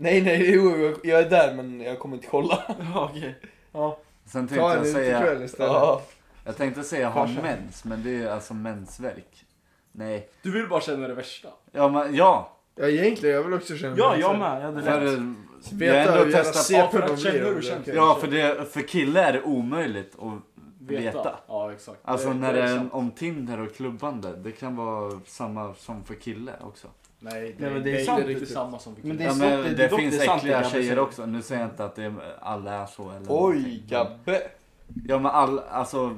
S2: Nej, nej, jo, jag, jag är där men jag kommer inte kolla.
S1: Ja, okej. Ja.
S6: sen tänkte
S3: Ta en
S6: jag säga...
S3: utekväll istället.
S2: Ja.
S6: Jag tänkte säga ha mens, men det är alltså mensvärk. Nej.
S4: Du vill bara känna det värsta.
S6: Ja, men ja.
S3: Ja egentligen, jag vill också känna
S1: ja,
S3: mig
S1: jag
S3: så.
S1: med. Jag hade
S6: För,
S1: rätt.
S6: jag har
S3: Veta hur
S6: ändå
S3: jävla
S6: testat...
S3: CP
S4: Ja, för
S3: man
S4: att känna
S3: blir.
S4: hur
S3: om
S4: det känns.
S6: Ja, för, det, för killar är det omöjligt att veta.
S4: Ja exakt.
S6: Alltså
S4: Det-
S6: när
S4: det
S6: det
S4: är
S6: är
S4: sant.
S6: om Tinder och klubbande, det kan vara samma som för kille också.
S4: Nej det,
S1: Nej, men
S4: det, är
S1: sant,
S4: inte riktigt
S1: typ.
S4: samma som vi
S1: Men det
S4: kunde.
S1: är
S6: ja,
S1: sant,
S6: men
S1: det-
S6: det,
S1: det är dock-
S6: finns
S1: det är sant, det
S6: äckliga
S1: grabbar
S6: tjejer
S1: säger.
S6: också. Nu säger jag inte att det är, alla är så. Eller
S2: Oj,
S6: någonting.
S2: Gabbe.
S6: Ja men all, alltså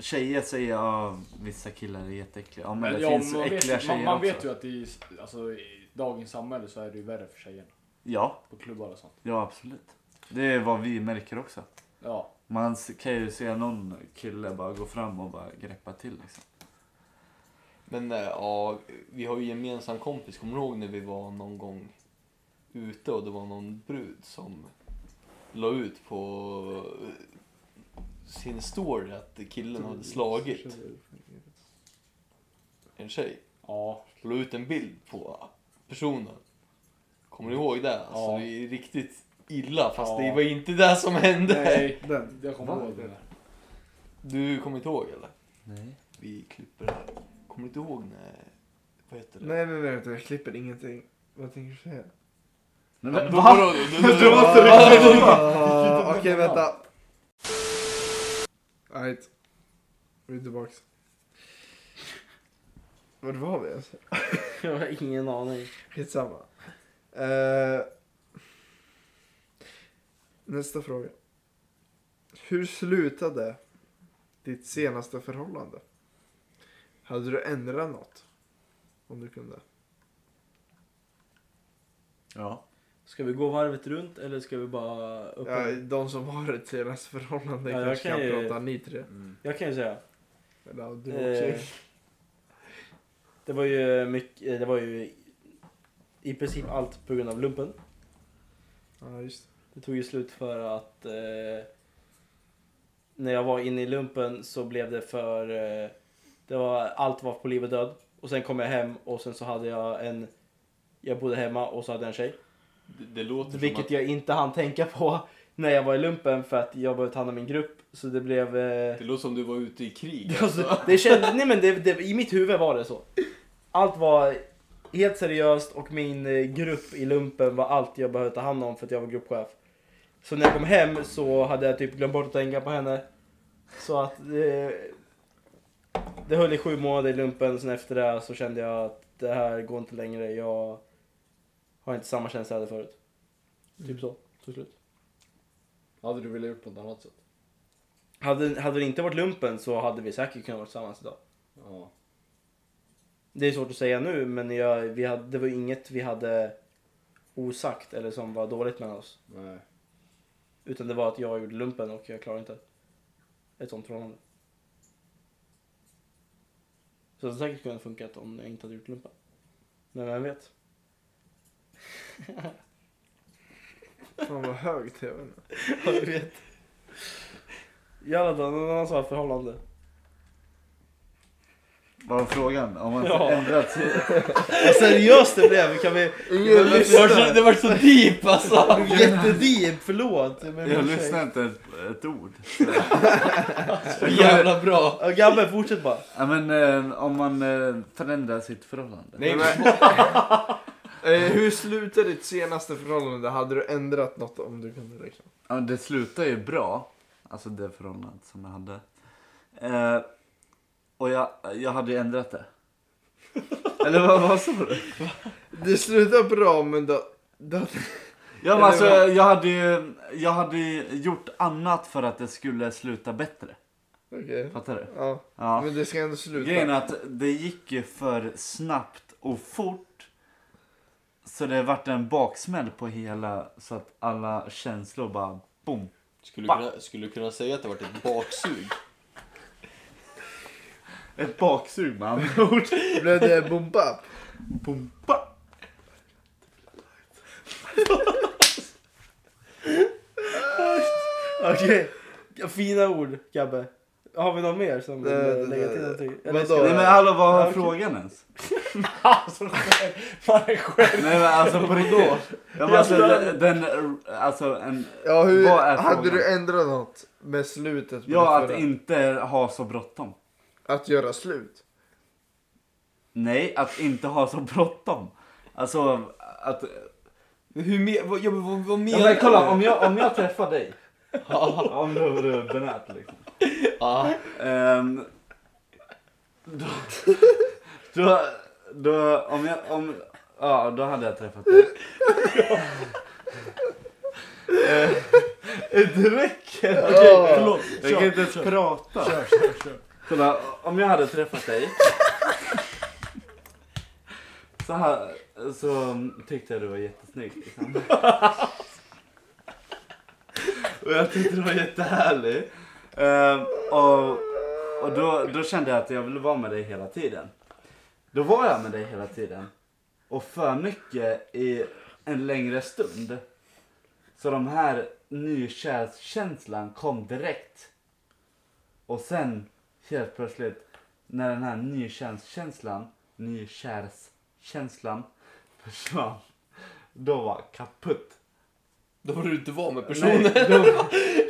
S6: tjejer säger ja, vissa killar är jätteäckliga. Ja men, det
S4: ja,
S6: finns
S4: man
S6: äckliga
S4: vet,
S6: tjejer
S4: man, man
S6: också.
S4: vet ju att i, alltså, i dagens samhälle så är det ju värre för tjejerna.
S6: Ja,
S4: På klubbar och sånt.
S6: ja absolut. Det är vad vi märker också.
S4: Ja.
S6: Man s- kan ju se någon kille bara gå fram och bara greppa till liksom.
S2: Men eh, ja, vi har ju gemensam kompis. Kommer du ihåg när vi var någon gång ute och det var någon brud som la ut på eh, sin story att killen hade slagit en tjej.
S4: Ja.
S2: La ut en bild på personen. Kommer du ihåg det? Alltså
S4: Ja.
S2: det är riktigt illa fast
S4: Ja.
S2: det var inte det som hände.
S4: Nej.
S3: Den.
S4: Jag kommer
S6: Va?
S4: ihåg det där.
S2: Du kommer inte ihåg eller?
S6: Nej.
S2: Vi klipper det här. Kommer du inte ihåg när... Vad heter det?
S3: Nej, nej, nej, vänta, jag klipper ingenting. Vad tänker du säga?
S6: Men, va?
S2: Men vadå?
S6: Då måste du
S3: Ah, Okej, vänta. Alright. Vi är tillbaks. Var var vi ens?
S1: Jag har ingen aning.
S3: Skitsamma. Eh, nästa fråga. Hur slutade ditt senaste förhållande? Hade du ändrat något? Om du kunde.
S6: Ja.
S1: Ska vi gå varvet runt eller ska vi bara upp?
S3: Ja, de som har ett senaste förhållande
S1: Ja, jag
S3: kanske kan
S1: kan ju-
S3: prata ni tre.
S1: Jag kan ju säga.
S3: Eller ja, du
S1: Eh,
S3: också.
S1: det var ju mycket, det var ju i princip allt på grund av lumpen.
S3: Ja, just det.
S1: Det tog ju slut för att eh, när jag var inne i lumpen så blev det för eh, det var, allt var på liv och död. Och sen kom jag hem och sen så hade jag en jag bodde hemma och så hade jag en tjej.
S2: Det, det låter som
S1: Vilket jag inte hann tänka på när jag var i lumpen för att jag behövde ta hand om min grupp. Så det blev... Eh,
S2: Det låter som du var ute i krig.
S1: alltså, det kändes, nej men det, det, i mitt huvud var det så. Allt var helt seriöst och min eh, grupp i lumpen var allt jag behövde ta hand om för att jag var gruppchef. Så när jag kom hem så hade jag typ glömt bort att tänka på henne. Så att eh, det höll i sju månader i lumpen, sen efter det så kände jag att det här går inte längre. Jag har inte samma känsla jag hade förut. Typ så, till slut.
S4: Hade du velat gjort på något annat sätt?
S1: Hade, hade det inte varit lumpen så hade vi säkert kunnat vara tillsammans idag.
S4: Ja.
S1: Det är svårt att säga nu men jag, vi hade, det var inget vi hade osagt eller som var dåligt mellan oss.
S4: Nej.
S1: Utan det var att jag gjorde lumpen och jag klarade inte ett sånt förhållande. Så det hade säkert kunnat funkat om jag inte hade gjort lumpen. Men vem vet?
S3: Fan vad hög tv nu.
S1: Jag vet. Jalla då, någon annan sa förhållande.
S6: Vad var frågan? Om man
S1: Ja.
S6: ändrat sig?
S1: Vad seriöst det blev! Kan vi...
S6: Ingen lyssnar.
S2: Det var så deep alltså!
S1: Jättedeep, förlåt! Men
S6: Jag lyssnar inte ett, ett ord.
S2: Så jävla bra!
S1: Ja, Gabbe, fortsätt bara.
S6: Ja, men eh, om man eh, förändrar sitt förhållande.
S3: Nej, men, eh, hur slutade ditt senaste förhållande? Hade du ändrat något om du kunde räkna?
S6: Ja, men det slutade ju bra. Alltså det förhållandet som jag hade. Eh, och jag, jag hade ju ändrat det. Eller vad, vad sa du?
S3: Det slutade bra men då... då
S6: Ja, men alltså, jag, hade ju, jag hade ju gjort annat för att det skulle sluta bättre.
S3: Okej.
S6: Fattar du?
S3: Ja.
S6: Ja.
S3: Men det ska ändå sluta.
S6: Grejen är att det gick ju för snabbt och fort. Så det vart en baksmäll på hela, så att alla känslor bara boom.
S2: Skulle du kunna, skulle du kunna säga att det varit ett baksug?
S6: Ett baksug med andra ord.
S3: Blev det bomba?
S6: Boom, ba.
S1: Okej, fina ord Gabbe. Har vi något mer som vill
S3: Nej,
S1: eh,
S3: nej,
S1: lägga till
S3: nej.
S1: någonting?
S3: Vadå?
S1: ska vi-
S6: Nej men hallå vad
S1: Ja,
S6: var
S1: okej.
S6: frågan ens?
S4: Alltså, man är själv.
S6: Nej men alltså på riktigt. Ja, men alltså, den, den, alltså en,
S3: Ja, hur,
S6: Vad är
S3: hade
S6: frågan?
S3: du ändrat något med slutet? på
S6: ja
S3: det
S6: att
S3: förra?
S6: inte ha så bråttom.
S3: att göra slut?
S6: Nej, att inte ha så bråttom. Alltså att...
S2: Hur men, vad, ja, men vad, vad
S6: Ja,
S2: menar
S6: men kolla om jag, om jag träffar dig. om du vore benät liksom.
S2: Ja,
S6: Ehm, då, då, då, om jag, om, ja då hade jag träffat dig. Eh, Det räcker! Okej, förlåt. Jag kan inte ens prata. Kolla, om jag hade träffat dig. Så här, så tyckte jag du var jättesnygg. Liksom. Och jag tyckte du var jättehärlig. Ehm, och och då, då kände jag att jag ville vara med dig hela tiden. Då var jag med dig hela tiden. Och för mycket i en längre stund. Så de här nykärskänslan kom direkt. Och sen helt plötsligt när den här nykärskänslan, nykärskänslan försvann. Då var kaputt.
S2: då var du inte var med personen.
S6: Nej, då,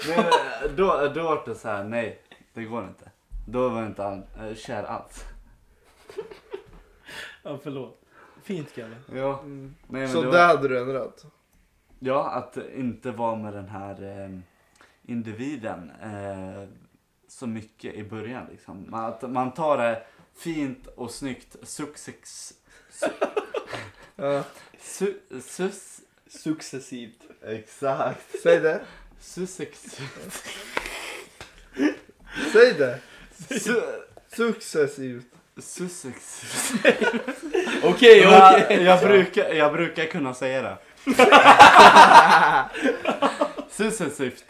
S6: nej, då, då var det så här, nej, det går inte. Då var jag inte all, eh, kär alls.
S1: Ja, förlåt. Fint Gabbe.
S6: Ja, nej, men
S3: Mm. Så
S6: det var-
S3: där hade du ändrat?
S6: ja, att inte vara med den här eh, individen eh, så mycket i början. Liksom. Man, att man tar det fint och snyggt, success,
S3: Ja,
S6: su, sus,
S2: Successivt.
S6: exakt,
S3: säg det.
S6: sussex,
S3: Säg det.
S6: su,
S3: Successivt.
S6: sussex.
S2: Okej,
S6: Jag,
S2: okej.
S6: jag, brukar, jag brukar kunna säga det. Successivt.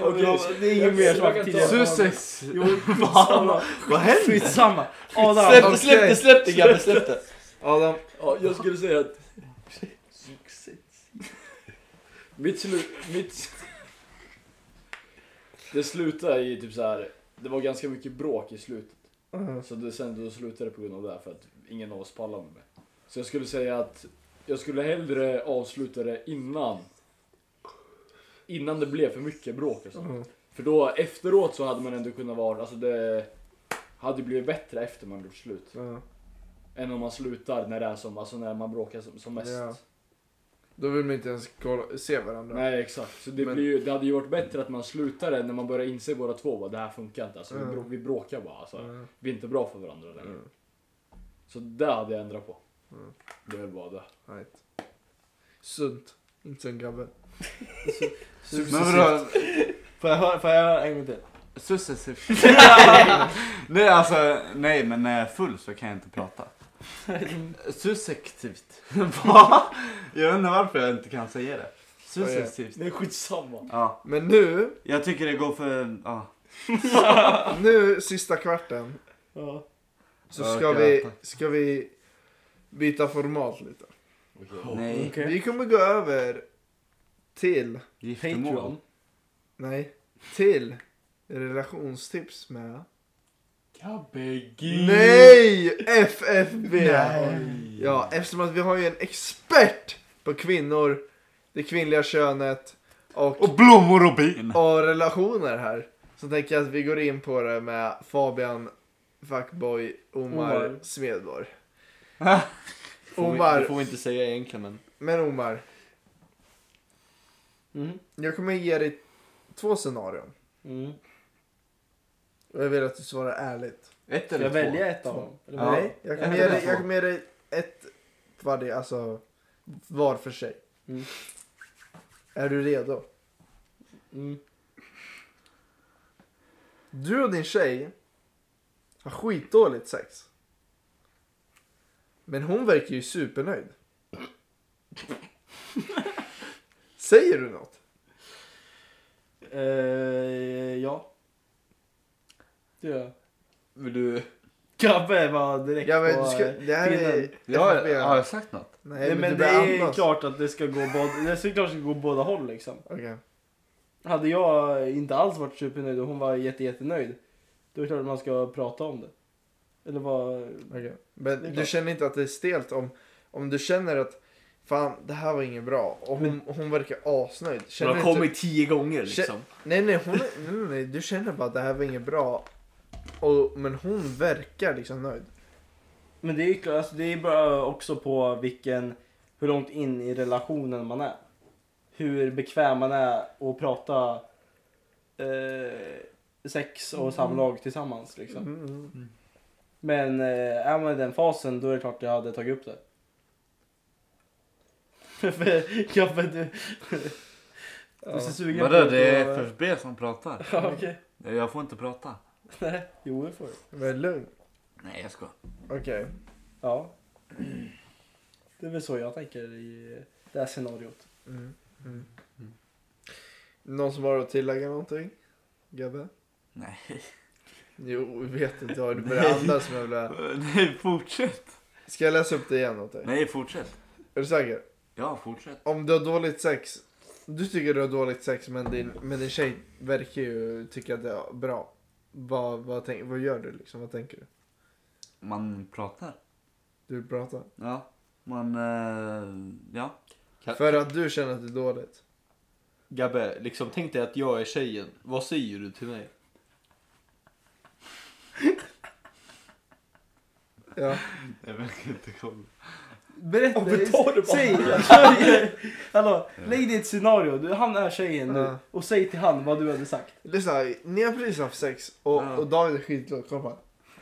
S1: Okej, det är inget mer som var
S4: Jag kan ta-
S1: tidigare.
S6: Success.
S1: Jo, skitsamma.
S6: Vad händer?
S1: Skitsamma. Adam.
S2: Släpp det, släpp det, släpp det grabben, släpp det.
S3: Adam,
S4: Ja, jag skulle säga att... mitt slut... Mitt... Det slutade i typ så här. Det var ganska mycket bråk i slutet.
S3: Mhm.
S4: Så det, sen då slutade det på grund av det här för att ingen av oss pallade med det. Så jag skulle säga att jag skulle hellre avsluta det innan. Innan det blev för mycket bråk. Alltså.
S3: Mm.
S4: För då efteråt så hade man ändå kunnat vara, alltså det hade ju blivit bättre efter man gjort slut.
S3: Ja.
S4: Än om man slutar när det är som, alltså när man bråkar som, som mest.
S3: Ja. Då vill man inte ens kolla, se varandra.
S4: Nej exakt, så det,
S3: Men-
S4: blir ju, det hade ju varit bättre att man slutade när man börjar inse båda två vad det här funkar inte. Alltså,
S3: Mm.
S4: vi, brå- vi bråkar bara. Alltså.
S3: Mm.
S4: Vi är inte bra för varandra längre.
S3: Mm.
S4: Så det hade jag ändrat på.
S3: Mm.
S4: Det är väl bara det.
S3: Right. Sunt. Inte som grabbe.
S6: Men vadå,
S1: Får jag höra, får jag höra en gång till?
S6: successivt? nej alltså, nej men när jag är full så kan jag inte prata. Successivt. Va? Jag undrar varför jag inte kan säga det. Successivt.
S4: Nej skitsamma.
S6: Ja,
S3: Men nu,
S6: jag tycker det går för, ja.
S3: nu sista kvarten
S1: Ja.
S3: så
S6: Ja,
S3: ska
S6: okej,
S3: vi,
S6: tack.
S3: ska vi byta format lite.
S6: Nej,
S1: Okej.
S3: Vi kommer gå över till,
S6: giftermål.
S1: Patreon.
S3: nej, till relationstips med...
S4: Kabbegi.
S3: Nej! FFB!
S6: Nej.
S3: Ja, eftersom att vi har ju en expert på kvinnor, det kvinnliga könet och,
S6: Och blommor och bin.
S3: och relationer här. Så tänker jag att vi går in på det med Fabian Fuckboy Omar,
S1: Omar.
S3: Smedborg.
S2: Får vi, det får
S3: Omar,
S2: vi inte säga egentligen men.
S3: men Omar,
S1: Mm.
S3: jag kommer ge dig två scenarion.
S1: Mm.
S3: Och jag vill att du svarar ärligt.
S2: Ett
S1: Ska
S2: eller
S1: jag
S2: två?
S1: välja ett av dem? Eller
S6: Ja.
S1: vad?
S3: Nej, jag kommer
S6: jag
S3: ge
S6: vill
S3: dig,
S6: ha
S3: jag
S6: två.
S3: kommer ge dig ett varje, alltså var för sig.
S1: Mm.
S3: Är du redo?
S1: Mm.
S3: Du och din tjej har skitdåligt sex. Men hon verkar ju supernöjd. Säger du något?
S1: Eh, ja. Det gör jag.
S2: Vill du?
S1: Gabbe var direkt
S3: Ja, men
S1: på...
S3: du ska,
S1: eh,
S3: det här är...
S1: pinnen.
S6: Ja,
S3: FFB.
S6: har jag sagt något?
S3: Nej,
S1: Nej,
S3: men
S1: men
S3: du
S1: det
S3: börjar
S1: är
S3: andas.
S1: klart att det ska gå båda, det är såklart att det ska gå båda håll liksom.
S3: Okej.
S1: Hade jag inte alls varit supernöjd och hon var jätte, jättenöjd, då är det klart att man ska prata om det. Eller vad...
S3: Okej.
S1: Det är
S3: Men du
S1: klart.
S3: känner inte att det är stelt om, om du känner att fan det här var inget bra och hon, hon verkar asnöjd.
S2: Du
S3: Känner
S2: har
S3: du inte,
S2: kommit tio gånger liksom.
S3: nej, nej, hon, är- nej, nej, nej, du känner bara att det här var inget bra. Och, men hon verkar liksom nöjd.
S1: Men det är ju klart, alltså, det är bara också på vilken, hur långt in i relationen man är. Hur bekväm man är att prata eh, sex och samlag tillsammans liksom.
S3: Mm, mm.
S1: Men eh, är man i den fasen då är det klart jag hade tagit upp det. För- ja, men du... Du ser sugen
S6: Vadå,
S1: ut
S6: det är
S1: och-
S6: FFB som pratar.
S1: Ja, okej.
S6: Jag får inte prata.
S1: Nej, Jo, det får du.
S3: Men lugn.
S6: Nej, jag ska.
S3: Okej.
S1: Ja. Det är väl så jag tänker i det här scenariot.
S3: Mm. Mm. Någon som har att tillägga någonting? Gabbe?
S6: Nej.
S3: Jo, vi vet inte. Har du börjat andas? Med jävla-
S6: Nej, fortsätt.
S3: Ska jag läsa upp det igen åt dig?
S6: Nej, fortsätt.
S3: Är du säker?
S6: Ja, fortsätt.
S3: Om du har dåligt sex. Du tycker du har dåligt sex men din, men din tjej verkar ju tycka att det är bra. Vad, vad, tänk, vad gör du liksom? Vad tänker du?
S6: Man pratar.
S3: Du vill prata?
S6: Ja. Man, eh, ja.
S2: Kan-
S3: För att du känner att det är dåligt.
S2: Gabbe, liksom tänk dig att jag är tjejen. Vad säger du till mig?
S3: Ja.
S6: Jag verkar inte kolla.
S1: Berätta!
S4: Ja, men ta det bara.
S1: säg! Hallå, lägg dig ett scenario. Du, han är tjejen nu.
S3: Ja.
S1: Och säg till han vad du hade sagt.
S3: Lyssna, ni har precis haft sex och,
S6: Ja.
S3: och David är skitlåg. Kom bara.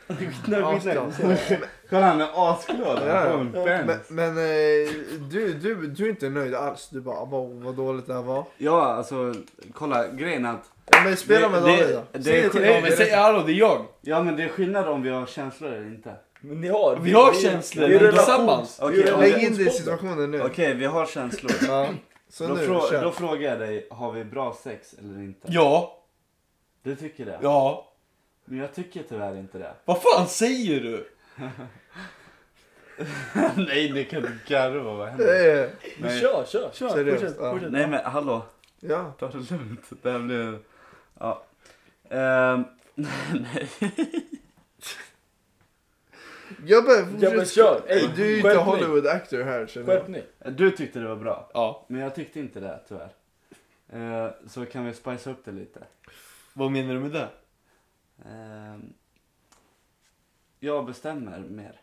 S1: När vi
S3: Asglad.
S1: ser det.
S6: Kolla, han är asglad.
S3: Ja, ja.
S6: Han får en
S3: Men,
S6: bärs.
S3: men eh, du, du, du är inte nöjd alls. Du bara wow, vad dåligt det här var.
S6: Ja, alltså, kolla, grejen är att...
S3: Ja, men spela med
S6: det,
S3: David då.
S6: det,
S2: Säg
S6: det,
S2: det till mig. Men säg, hallå det är jag.
S6: Ja, men det är skillnad om vi har känslor eller inte.
S4: Men ni har.
S2: Vi har känslor
S4: Vi är
S2: men
S4: relation.
S2: tillsammans.
S6: Okej, om
S3: Lägg
S6: vi-
S3: in dig i situationen nu.
S6: okej, vi har känslor.
S3: Ja. Så
S6: Då,
S3: nu,
S6: frå,
S3: kör.
S6: då frågar jag dig, har vi bra sex eller inte?
S2: Ja,
S6: Du tycker det?
S2: ja.
S6: Men jag tycker tyvärr inte det.
S2: Vad fan säger du?
S6: Nej, det kan du garva. Vad händer?
S3: Eh,
S4: Men
S6: Nej.
S4: kör, kör.
S1: Kör,
S3: Seriöst,
S1: fortsätt.
S3: ja.
S1: fortsätt.
S6: Nej, men hallå.
S3: Ja.
S6: Ta det lugnt. Det här blir... Ja. Ehm, nej.
S3: Gubbe,
S4: Ja men
S3: fortsätt.
S4: kör!
S3: Ey,
S4: Ey,
S3: du är ju inte
S4: skärpning.
S3: Hollywood actor här känner jag.
S4: Skärp ni.
S6: Du tyckte det var bra.
S2: Ja.
S6: Men jag tyckte inte det tyvärr. Eh, så kan vi spicea upp det lite.
S2: Vad menar du med det?
S6: Eh, jag bestämmer mer.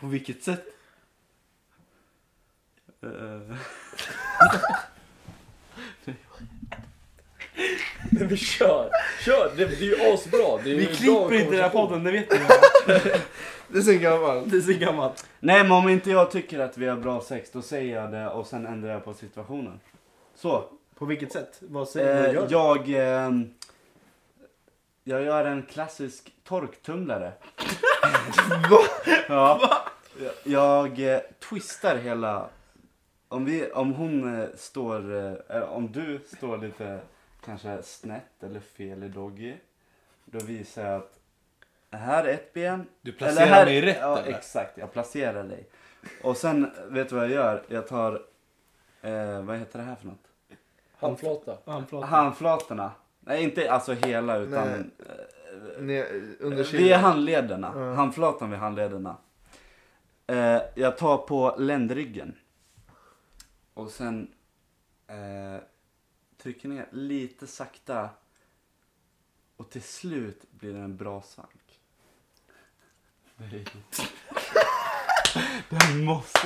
S2: På vilket sätt?
S6: Eh,
S4: Men vi kör! Kör! Det, det är ju asbra! Det är
S1: Vi
S4: ju
S1: klipper
S4: bra
S1: inte den här
S4: konversation.
S1: podden, det vet ni.
S3: Det är så gammalt.
S1: Det är så gammalt.
S6: nej men om inte jag tycker att vi har bra sex då säger jag det och sen ändrar jag på situationen. Så.
S1: På vilket sätt? Vad säger
S6: Eh,
S1: du? Gör?
S6: jag, ehm, jag gör en klassisk torktumlare. Ja. Jag, jag eh, twistar hela... Om, vi, om hon eh, står... eh, eh, om du står lite kanske snett eller fel i doggy. Då visar jag att här är ett ben.
S2: Du
S6: Eller
S2: placerar mig rätt
S6: Ja,
S2: eller?
S6: exakt. Jag placerar dig. Och sen, vet du vad jag gör? Jag tar... Eh, vad heter det här för något?
S4: Handflata.
S6: Handflatorna. Nej, inte alltså hela utan
S3: Nej, Ni, under
S6: eh, vid handlederna.
S3: Ja.
S6: Handflatan vid handlederna. Eh, jag tar på ländryggen. Och sen eh, trycker ner lite sakta. Och till slut blir det en bra svank. Nej. Det här måste,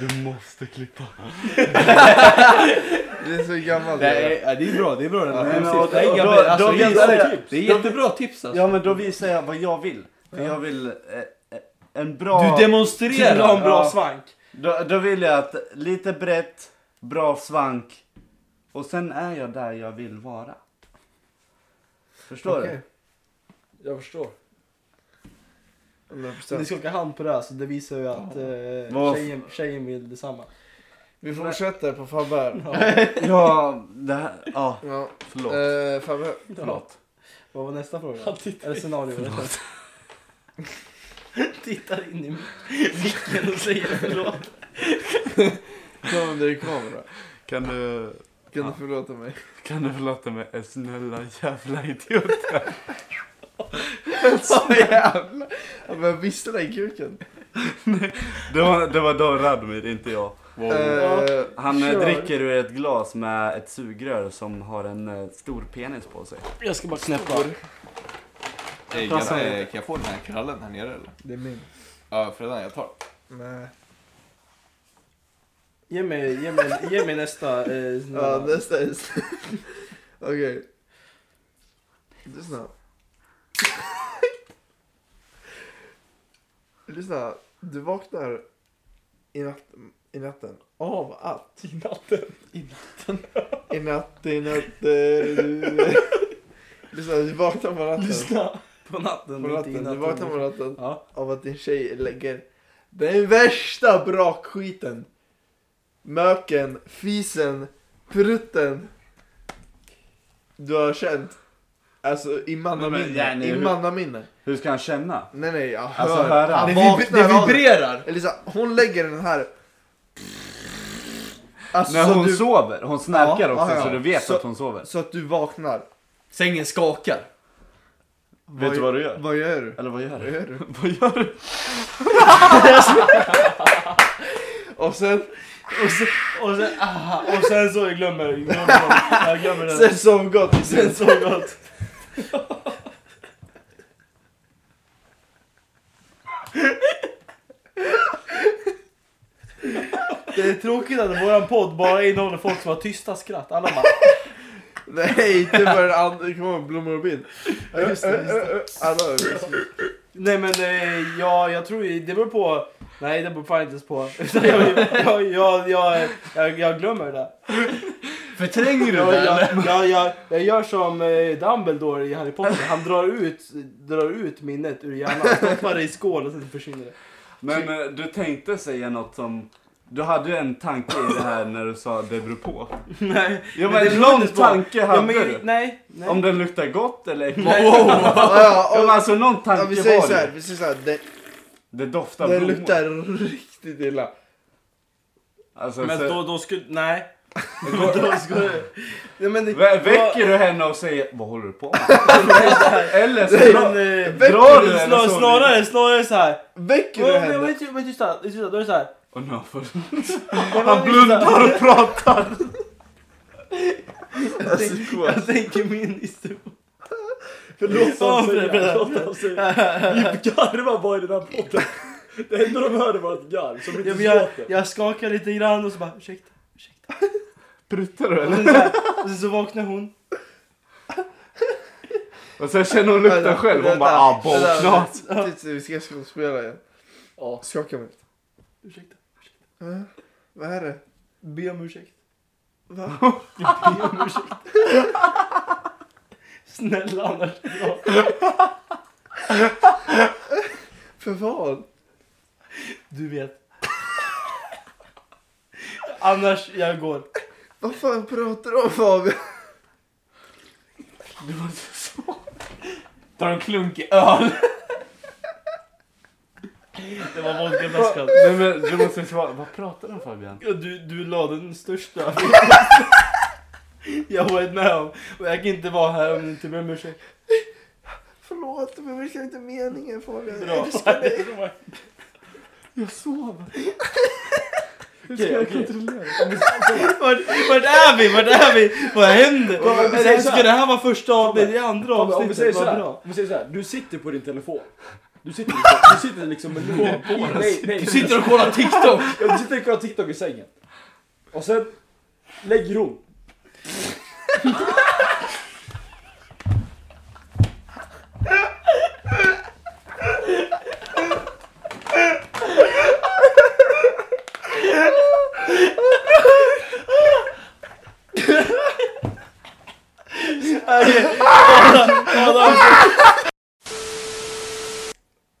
S6: du måste klippa.
S3: Det är så gammalt.
S2: Nej, ja, det är bra, det är bra. Det
S6: Nej,
S2: är,
S6: men, och, och,
S2: det är,
S6: då,
S2: gamla, alltså,
S6: då
S2: det är,
S6: visar jag,
S2: jätte-
S6: det är jätte-
S2: jättebra tips alltså.
S6: Ja men då visar jag vad jag vill. För jag vill eh, eh, en bra...
S2: Du
S1: Vill du ha en
S2: demonstrerar!
S1: bra
S6: Ja.
S1: svank?
S6: då, då vill jag att lite brett, bra svank och sen är jag där jag vill vara. Förstår
S3: Okej.
S4: Jag förstår.
S3: 100%.
S1: Ni skakar hand på det här så det visar ju att eh,
S6: Vad-
S1: tjejen, tjejen vill detsamma.
S3: Vi fortsätter på Fabbe här.
S6: du? Ja, det här... Ja,
S3: Ja,
S6: förlåt.
S3: eh, Fabbe.
S6: Förlåt.
S1: Vad var nästa fråga?
S4: Han tittar
S1: Eller scenario? Tittar in i micken och säger förlåt.
S3: Kom under i kamera.
S6: Kan du...
S3: Kan
S6: Ja.
S3: du förlåta mig?
S6: Kan du förlåta mig? Snälla jävla idiot.
S3: Så jävla... Jag börjar vissla i kuken.
S6: Det var, det var då Radomir, inte jag.
S3: Eh,
S6: Han eh,
S3: Kör.
S6: dricker ur ett glas med ett sugrör som har en eh, stor penis på sig.
S1: Jag ska bara knäppa.
S2: Ey, kan, jag- kan jag få den här krallen här nere eller?
S3: Det är min.
S2: Ja, Fredan jag tar.
S3: Nej.
S1: Ge mig, ge mig, ge mig nästa. Eh,
S3: Ja,
S1: scenario.
S3: nästa är... Okej. Lyssna. Lyssna. Du vaknar i, natt, i natten av att... I natten? I natten. I natten, natten. Lyssna, du vaknar på natten.
S1: Lyssna. På natten.
S3: På
S1: inte i
S3: natten. Du vaknar på natten
S1: Ja.
S3: av att din tjej lägger den värsta brakskiten. Möken, fisen, prutten. Du har känt. Alltså i
S6: Men, men, ja,
S3: mannaminne.
S6: nej,
S3: I
S6: hur-
S3: mannaminne.
S6: Hur ska han känna?
S3: Nej nej, jag hör.
S6: Alltså, höra.
S3: Han
S6: Det
S3: vaknar av det.
S2: vibrerar!
S3: Elisa, hon lägger den här. Alltså,
S6: När hon
S3: så, du,
S6: sover. Hon snarkar
S3: Ja, ja,
S6: också
S3: ja.
S6: så du vet
S3: Så-
S6: att hon sover.
S3: så att du vaknar.
S2: Sängen skakar.
S6: Vet du vad du gör?
S3: Vad gör du?
S6: Eller vad gör
S3: Vad
S6: du?
S3: gör du?
S6: Vad gör du?
S3: Och sen,
S1: Och sen, och sen, aha, och sen så jag glömmer, glömmer jag glömmer den.
S3: sen sov gott.
S1: Sen så gott. Det är tråkigt att våran podd bara innehåller folk som har tysta skratt. Alla bara...
S3: Nej, inte bara den andra. Det kommer blommor och bin.
S1: Ja, just det,
S3: Alla
S1: Nej men eh, ja, jag tror ju- det beror på. Nej det beror fan inte ens på. Utan jag, jag, jag, jag, jag, jag glömmer det där.
S2: Förtränger du
S1: Jag,
S2: det
S1: jag,
S2: eller?
S1: jag, jag, jag gör som eh, Dumbledore i Harry Potter. Han drar ut, drar ut minnet ur hjärnan. Stoppar det i skål och sen försvinner det.
S6: Men eh, du tänkte säga något som... Du hade ju en tanke i det här när du sa det beror på.
S1: Nej.
S6: Ja
S1: men
S6: men
S1: det
S6: en
S1: låter
S6: lång
S1: inte så.
S6: tanke
S1: Ja,
S6: hade
S1: men,
S6: du.
S1: nej. nej.
S6: Om den luktar gott eller äckligt.
S1: Nej.
S3: Ja, ja,
S6: Ja,
S3: och-
S6: men alltså någon tanke
S3: Ja, vi säger
S6: var
S3: så här,
S6: det.
S3: vi säger så här, det,
S6: Det doftar
S3: det
S6: blommor.
S3: luktar riktigt illa.
S6: Alltså,
S1: men
S6: så,
S1: då, då skulle... Nej. Då ska du... Ja, men det-
S6: Vä- Väcker du henne och säger vad håller du på med? Eller så
S1: Nej,
S6: dra-
S1: men, eh,
S6: drar du henne
S1: snar,
S6: så.
S1: snarare, snarare så här.
S3: Väcker
S1: Men
S3: du
S1: men-
S3: henne?
S1: men tyst- men tystnad, tystnad, då är det så här.
S6: Och nu har han fått-
S1: Nej, men-
S6: Han blundar och pratar.
S2: Alltså,
S1: Jag tänker min historia.
S4: Låt
S1: Ja,
S4: dem säga,
S1: Fredrik.
S4: låt dem säga. Vi garvar bara i den här podden. Det enda de hörde var ett garv som inte
S1: Ja, men jag,
S4: låter.
S1: jag skakar lite grann och så bara ursäkta, ursäkta.
S6: Pruttar du
S1: Och
S6: eller?
S1: sen så, här, och sen så vaknar hon.
S6: Och sen Alltså, känner hon lukten själv. Hon
S3: Vänta,
S6: bara ah
S3: vänta,
S6: bollknas.
S3: titta, Vi ska skådespela igen.
S4: Ja.
S3: Skaka mig.
S1: Ursäkta,
S3: Va? Vad är det?
S1: be om ursäkt.
S3: Va?
S1: Be om ursäkt. Snälla annars. Ja.
S3: För vad?
S1: Du vet. Annars, jag går.
S3: Vad fan pratar du om Fabian?
S2: Tar en klunk i öl.
S1: Det var vodkaflaskan.
S6: Nej men du måste svara. Vad pratar de Fabian?
S1: Ja, Du, du la den största. jag har varit med om. Och jag kan inte vara här om du inte ber om ursäkt.
S3: Förlåt, men det var inte meningen Fabian.
S1: Bra.
S3: Jag älskar dig.
S6: Jag sover. Hur
S1: ska jag
S6: kontrollera?
S1: Vart, vart är vi? Vart är vi? Vad händer?
S4: Om vi säger
S1: Eller,
S4: så här.
S1: Ska det här vara första avsnittet? Det är andra
S4: Ja, men Om vi säger
S1: avsnittet.
S4: så
S1: Vad
S4: här,
S1: bra.
S4: om vi säger så här, du sitter på din telefon. Du sitter, liksom- du sitter liksom med luren på nej, nej,
S2: Du sitter och kollar TikTok.
S4: Ja, du sitter och kollar TikTok i sängen. Och sen lägger hon.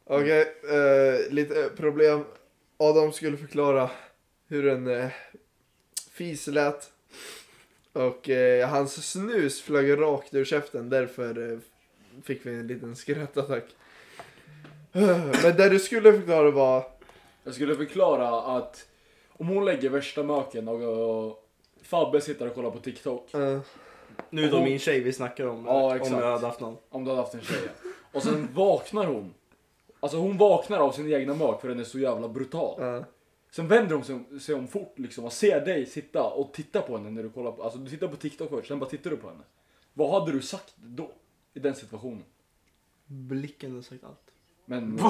S3: Okej, eh, lite eh, problem. Adam skulle förklara hur en eh, fis lät. Och eh, hans snus flög rakt ur käften. Därför eh, fick vi en liten skrattattack. Eh, Men det du skulle förklara var...
S4: Jag skulle förklara att om hon lägger värsta möken och, och Fabbe sitter och kollar på TikTok.
S3: eh,
S1: Nu är det min tjej vi snackar om. eh,
S4: Ja,
S1: om
S4: exakt.
S1: jag hade haft någon.
S4: Om du hade haft en tjej. ja. Och sen vaknar hon. Alltså hon vaknar av sin egna mök för den är så jävla brutal.
S3: eh.
S4: Sen vänder hon sig- sig om fort liksom och ser dig sitta och titta på henne när du kollar på, alltså du tittar på TikTok först, sen bara tittar du på henne. Vad hade du sagt då? I den situationen?
S1: Blicken har sagt allt.
S4: Men,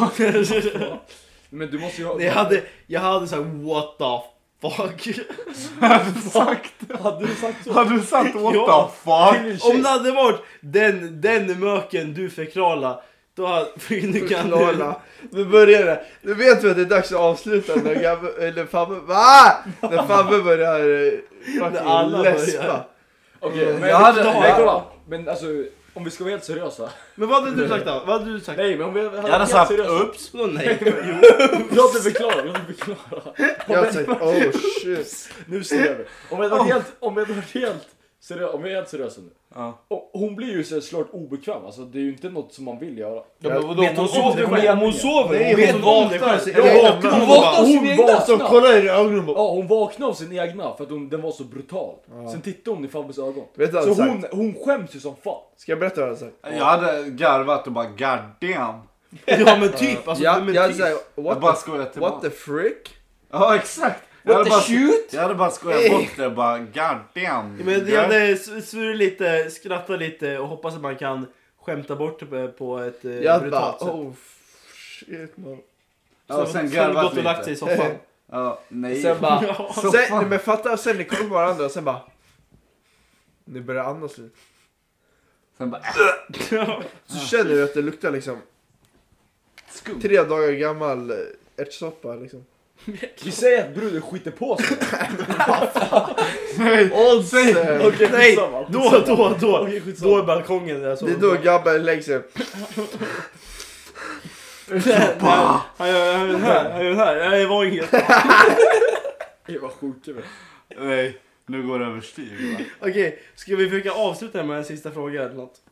S4: men du måste ju ha...
S1: jag, hade, jag hade sagt what the fuck.
S4: Hade du sagt så?
S6: Har du sagt what
S1: Ja.
S6: the fuck?
S4: Till
S1: om
S4: Om
S1: det hade varit den, den möken du förklara. Då hade, för nu kan du...
S3: Förklara. Nu börjar det. Nu vet vi att det är dags att avsluta när Gabbe, eller Fabbe, va? När Fabbe börjar eh,
S1: När
S3: fucking
S1: alla
S3: läspa.
S1: börjar.
S4: Okej, men,
S6: Jag hade-
S4: men
S6: jag-
S4: kolla. Men alltså, om vi ska vara helt seriösa.
S1: Men vad hade du sagt då? Vad hade du sagt?
S4: Nej, men om vi hade
S6: Jag hade
S4: helt
S6: sagt
S4: seriösa.
S6: ups.
S1: Vadå nej?
S4: Låt mig förklara, låt mig förklara.
S3: Jag har sagt oh shit.
S4: Nu ser vi. Om vi hade varit helt, om vi hade varit helt seriösa, om vi är helt seriösa nu.
S6: Ja.
S4: Och hon blir ju så klart obekväm, alltså det är ju inte något som man vill göra.
S2: Ja, men vadå,
S1: Vet hon om det själv? Hon sover!
S3: Nej,
S1: Hon vet
S3: hon
S1: om det
S3: vaknar.
S1: själv!
S3: Jag
S1: Ja,
S3: vaknar.
S1: hon
S3: Hon
S1: bara-
S2: vaknar.
S4: Hon vaknade!
S3: kollar i ögonen bara.
S4: Ja, hon vaknade av sin egna för att hon, den var så brutal. Sen tittade hon i Fabbes ögon.
S3: Vet du vad
S4: så
S3: han sagt?
S4: hon, hon skäms ju som fan.
S3: Ska jag berätta vad han sagt?
S6: Jag hade garvat och bara god damn.
S1: Ja men typ! Alltså,
S3: Ja,
S1: men
S3: jag
S1: typ.
S3: hade sagt
S6: Jag bara
S3: what,
S6: skojar
S3: the, what
S6: tillbaka.
S3: the frick?
S6: Ja exakt. Jag hade bara- Jag hade bara skojat bort det och bara god damn.
S1: Ja, Men jag hade s- svurit lite, skrattat lite och hoppas att man kan skämta bort det på- på ett eh,
S3: Jag bara
S1: brutalt sätt.
S3: oh shit man.
S6: Ja,
S1: Så-
S6: sen
S1: så har du
S6: garvat
S1: gått och lagt sig i
S6: lite.
S1: soffan.
S6: Ja, nej.
S3: Sen bara,
S1: Ja.
S6: Så
S3: sen,
S6: fan.
S3: nej, men fatta sen ni kollar på varandra och sen bara. Nu börjar jag andas lite.
S6: Sen bara, äh,
S1: Ah.
S3: Så känner du att det luktar liksom
S6: skum.
S3: tre dagar gammal eh, ärtsoppa liksom.
S4: Vi säger att bruden skiter på sig.
S3: Oddsen!
S4: Okej,
S1: Nej!
S4: skitsamma.
S1: Då, då, då!
S4: Okej, skitsamma.
S1: Då är balkongen där jag
S3: Det
S1: sover.
S3: är då grabben lägger sig.
S1: Nej, Han gör han gör den här, han gör den här. Nej, Det var inget.
S4: Ey, vad sjuka vi är.
S6: Nej, nu går det överstyr. va?
S1: Okej, ska vi försöka avsluta med en sista fråga eller något?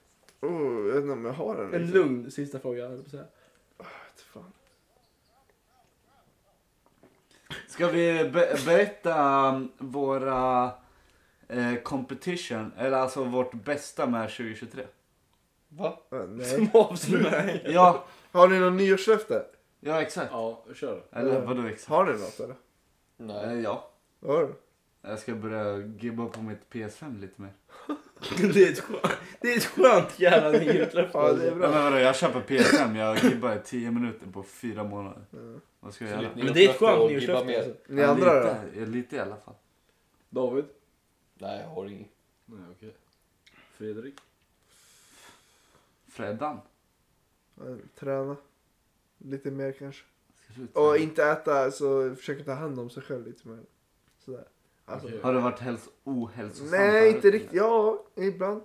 S3: Oh, jag vet inte om jag har den. liksom.
S1: En
S3: riktigt.
S1: lugn sista fråga höll jag på att säga.
S3: Vet fan.
S6: Ska vi be berätta um, våra eh, competition, eller alltså vårt bästa med 2023.
S2: Va?
S3: Eh, Nej.
S2: Som avslut?
S6: Ja,
S3: Har ni någon nyårslöfte?
S6: ja exakt.
S4: Ja, kör.
S6: Eller vadå exakt?
S3: Har ni något eller?
S6: Eh,
S2: Nej.
S6: ja.
S3: Vad har du?
S6: Jag ska börja gibba på mitt PS5 lite mer.
S1: Det är ett skönt, det är ett skönt jävla nyhetslöfte.
S3: Ja, det är
S6: Ja,
S3: bra.
S6: men vadå, jag köper PS5, jag gibbar i 10 minuter på 4 månader.
S3: Mm.
S6: Vad ska jag göra?
S1: Men det är ett skönt nyårslöfte.
S2: mer.
S1: Alltså.
S3: Ni
S6: Ja,
S3: andra då?
S6: lite, då? Lite i alla fall.
S4: David?
S2: Nej, jag har inget.
S4: Nej, okej. Fredrik?
S6: Freddan?
S3: Eh, Träna. Lite mer kanske.
S6: Ska du ut?
S3: Och inte äta, så försöka ta hand om sig själv lite mer. Sådär. Alltså,
S4: Okej.
S6: Har du varit hälso- ohälsosam
S3: Nej,
S6: förut,
S3: inte
S6: eller?
S3: riktigt. Ja, ibland.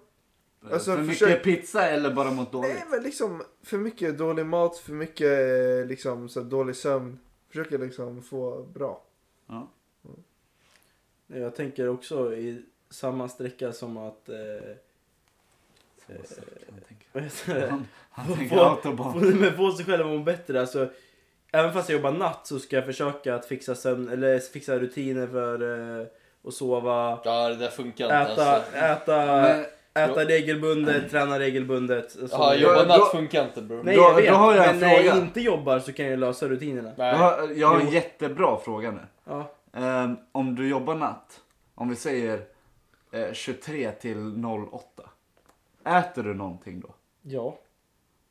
S3: Alltså,
S6: för mycket
S3: försök-
S6: pizza eller bara mått
S3: Nej,
S6: dåligt?
S3: men liksom för mycket dålig mat, för mycket eh, liksom så här, dålig sömn. Försöker liksom få bra.
S1: Jag tänker också i samma sträcka som att... Eh,
S6: Samma sak, kan jag tänka.
S1: vad heter det?
S6: Han, han tänker
S1: Få-
S6: autobahn.
S1: Få- Men få sig själv att må bättre. Alltså, även fast jag jobbar natt så ska jag försöka att fixa, sömn, eller fixa rutiner för eh, att sova.
S2: Ja, det där funkar inte
S1: Äta,
S2: alltså.
S1: äta,
S6: Men-
S1: äta regelbundet, träna regelbundet. Så-
S2: Ja,
S6: jag-
S2: jobba natt
S6: då-
S2: funkar inte bror.
S1: Nej,
S6: Då-
S1: jag vet.
S6: då har jag en
S1: men när jag
S6: fråga.
S1: inte jobbar så kan jag lösa rutinerna.
S6: Jag
S2: Nej.
S6: har, jag har en
S1: Jo.
S6: jättebra fråga nu.
S1: Ja.
S6: Ehm, om du jobbar natt, om vi säger eh, 23 till 08. Äter du någonting då?
S1: ja.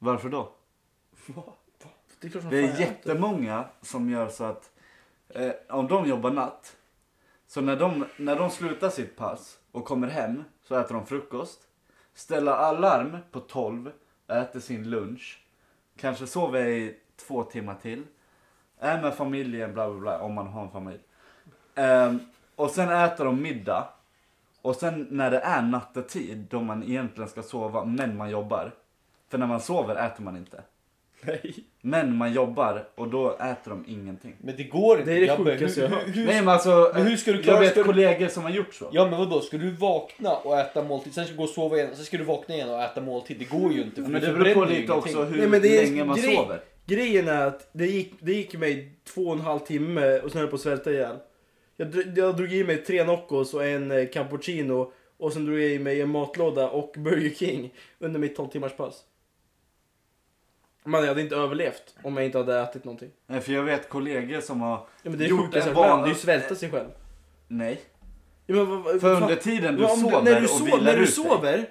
S6: Varför då?
S1: Det är, klart som
S6: Det
S1: fan
S6: är
S1: jag äter.
S6: jättemånga som gör så att eh, om de jobbar natt, så när de, när de slutar sitt pass och kommer hem så äter de frukost, ställer alarm på 12, äter sin lunch, kanske sover i två timmar till, är med familjen, bla bla bla, om man har en familj. Ehm, och sen äter de middag. Och sen när det är nattetid då man egentligen ska sova men man jobbar. För när man sover äter man inte.
S1: Nej.
S6: Men man jobbar och då äter de ingenting.
S2: Men det går inte
S1: Det är det
S2: grabbar.
S1: sjukaste
S2: Hur-
S1: jag har hört.
S2: hur- hur-
S6: Nej men alltså,
S2: Men hur ska du klara-
S6: jag vet
S2: ska du-
S6: kollegor som har gjort så.
S2: Ja men vadå, ska du vakna och äta måltid, sen ska du gå och sova igen, sen ska du vakna igen och äta måltid. Det går ju inte. för
S6: men
S2: du
S6: det beror på
S2: förbränner ju
S6: lite
S2: ingenting.
S6: också hur
S1: Nej, men det är
S6: länge man
S1: grej-
S6: sover.
S1: Grejen är att det gick, det gick mig två och en halv timme och sen höll jag på att svälta ihjäl. Jag, dr- jag drog i mig tre Noccos och en eh, cappuccino och sen drog jag i mig en matlåda och Burger King under mitt 12 timmars pass. Man, jag hade inte överlevt om jag inte hade ätit någonting.
S6: Nej, för jag vet kollegor som har...
S1: Ja, men det är
S6: Gjort
S1: sjukt, alltså,
S6: en
S1: man,
S6: van-
S1: det är ju svälta sig själv.
S6: Nej.
S1: Ja, men, vad- vad-
S6: För
S1: fan-
S6: under tiden du
S1: Ja, om
S6: sover
S1: när du,
S6: och
S1: so-
S6: vilar
S1: när du
S6: ut dig.
S1: sover,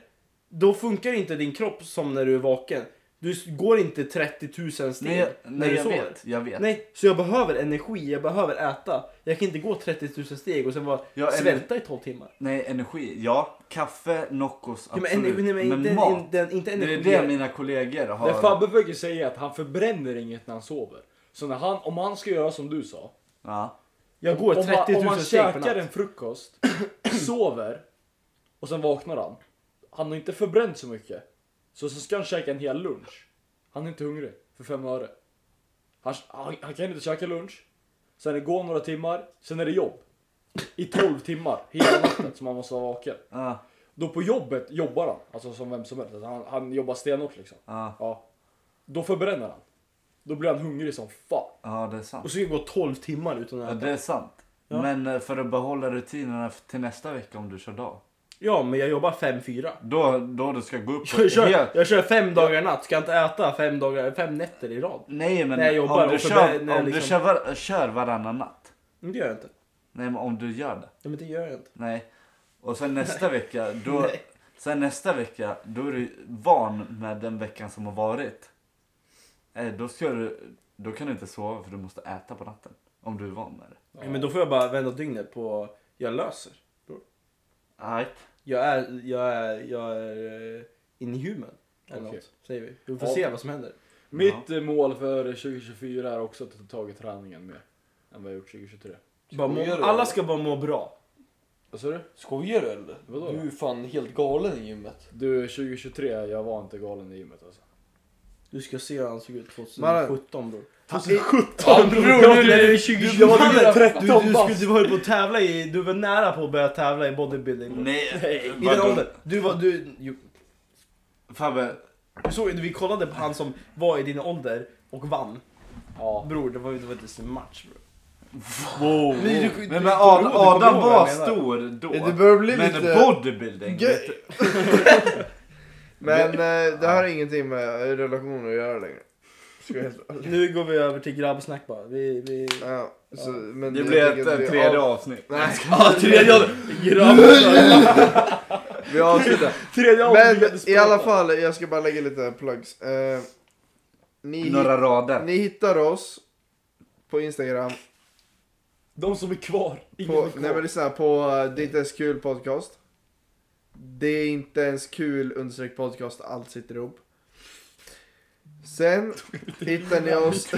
S1: då funkar inte din kropp som när du är vaken. Du s- går inte 30 000 steg
S6: Nej, jag-
S1: när
S6: nej
S1: du
S6: jag
S1: sover.
S6: vet. Jag vet.
S1: Nej, så jag behöver energi, jag behöver äta. Jag kan inte gå 30 000 steg och sen bara
S6: Ja, eller-
S1: svälta i 12 timmar.
S6: Nej, energi. Ja, kaffe, Noccos,
S1: Ja,
S6: absolut.
S1: men ener- nej, men inte,
S6: mat.
S1: en- den- inte
S6: det
S1: energi.
S6: är det mina kollegor har...
S4: Det Fabbe försöker säga är att han förbränner inget när han sover. Så när han, om han ska göra som du sa.
S6: Ja.
S1: jag går
S4: om, man,
S1: 30
S4: om
S1: 000
S4: han
S1: steg per
S4: käkar en
S1: natt.
S4: frukost, sover och sen vaknar han. Han har inte förbränt så mycket. Så sen ska han käka en hel lunch. Han är inte hungrig för fem öre. Han, han, han kan inte käka lunch. Sen det går några timmar, sen är det jobb. I 12 timmar hela natten som han måste vara vaken.
S6: Ja.
S4: Då på jobbet jobbar han, alltså som vem som helst. Alltså Han, han jobbar stenhårt liksom.
S6: Ja.
S4: Ja. Då förbränner han. Då blir han hungrig som fan.
S6: Ja, det är sant.
S1: Och så ska jag gå 12 timmar utan att
S6: Ja,
S1: äta.
S6: det är sant.
S1: Ja.
S6: Men eh, för att behålla rutinerna f- till nästa vecka om du kör dag.
S1: Ja, men jag jobbar 5-4.
S6: Då, då du ska gå upp
S1: Jag kör,
S6: helt...
S1: jag kör fem dagar natt, ska inte äta fem, dagar, fem nätter i rad.
S6: Nej men
S1: Nej, jag jobbar
S6: om du,
S1: och förbe-
S6: kör,
S1: när jag
S6: om du
S1: liksom-
S6: kör, var, kör varannan natt.
S1: Men det gör jag inte.
S6: Nej men om du gör det.
S1: Ja, men det gör jag inte.
S6: Nej. Och sen nästa vecka, då...
S1: Nej.
S6: Sen nästa vecka, då är du van med den veckan som har varit. Eh, Då, ska du, då kan du inte sova för du måste äta på natten. Om du är van med det.
S1: Ja. men då får jag bara vända dygnet på jag löser.
S6: Right.
S1: Jag är, jag är, jag är eh, inhuman. Eller
S4: Okej.
S1: något, säger vi. Vi får
S4: Ja.
S1: se vad som händer.
S4: Mitt eh, mål för 2024 är också att ta tag i träningen mer. Än vad jag gjort 2023.
S1: Bara
S2: vi
S1: må,
S2: göra det,
S1: alla
S2: eller?
S1: ska bara må bra.
S4: Vad sa du?
S2: Skojar du eller?
S4: Vadå?
S2: Du är fan helt galen i gymmet.
S4: Du 2023, jag var inte galen i gymmet alltså.
S1: Du ska se hur han såg ut 2017
S3: 2017,
S1: bror.
S2: Ja, bror, nu-
S1: är
S4: jag var
S1: mannen,
S4: redan
S1: du, du,
S4: 13
S1: skulle- du var ju på att tävla i, du var nära på att börja tävla i bodybuilding. bror.
S6: Nej.
S1: I den åldern. Du var, du, jo,
S6: Fabbe,
S1: du såg, vi kollade på han som var i din ålder och vann.
S4: Ja.
S1: Bror, det var, det var inte sin match bror.
S6: Wow.
S1: Nej, du-
S6: Men,
S1: du-
S6: men Ad,
S1: du kommer
S6: Adam
S1: ihåg vad
S6: var
S1: jag menar.
S6: stor då.
S3: Det börjar bli
S6: men
S3: lite...
S6: bodybuilding.
S3: Gö-
S6: vet du.
S3: Men eh, det här har ingenting med relationer att göra längre. Ska jag helt ärligt.
S1: Nu går vi över till grabbsnack bara. Vi, vi...
S3: Ja, så, men
S6: Det
S3: jag
S6: blir ett
S3: tänker att vi
S6: ett tredje
S3: av-
S6: avsnitt.
S3: Nej,
S1: Ja, tredje avsnittet. Grabbsnack.
S3: vi avslutar.
S4: Tredje
S3: Men
S4: avsnittet
S3: i alla fall, jag ska bara lägga lite plugs. Eh, ni, hit-
S6: Några rader.
S3: ni hittar oss på Instagram.
S4: De som är kvar. Ingen
S3: På,
S4: är kvar.
S3: nej men lyssna, på eh, Det är inte ens kul podcast. Det är inte ens kul understreck podcast, allt sitter ihop. Sen hittar ni oss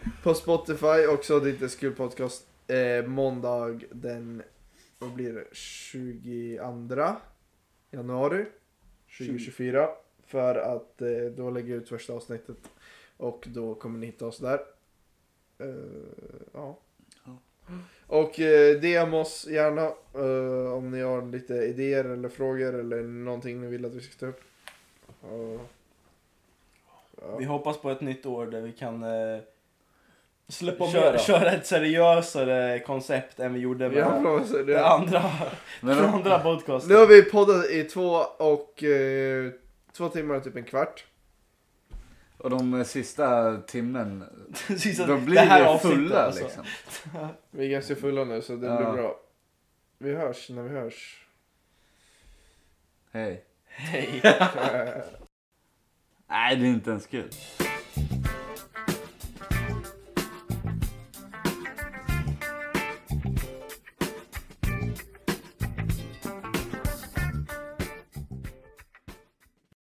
S3: på Spotify också, Det är inte ens kul podcast. Eh, måndag den, vad blir det, 22 januari 2024. För att eh, då lägger jag ut första avsnittet och då kommer ni hitta oss där. Eh, ja. Och eh, DM oss gärna eh, om ni har lite idéer eller frågor eller någonting ni vill att vi ska ta upp. Ja.
S1: Vi hoppas på ett nytt år där vi kan eh,
S4: Släppa
S1: köra,
S4: mera.
S1: köra ett seriösare koncept än vi gjorde
S3: Ja,
S1: med
S3: jag lovar, så
S1: det
S3: det.
S1: andra,
S6: Men,
S1: den andra podcasten.
S3: Nu har vi poddat i två och eh, två timmar och typ en kvart.
S6: och de sista timmen,
S1: Sista-
S6: då blir
S1: det här
S6: vi
S1: avsnittet,
S6: fulla
S1: alltså.
S6: liksom.
S3: Vi är ganska fulla nu så det
S6: Ja.
S3: blir bra. Vi hörs när vi hörs.
S6: Hej.
S1: Hej.
S6: Nej, det är inte ens kul.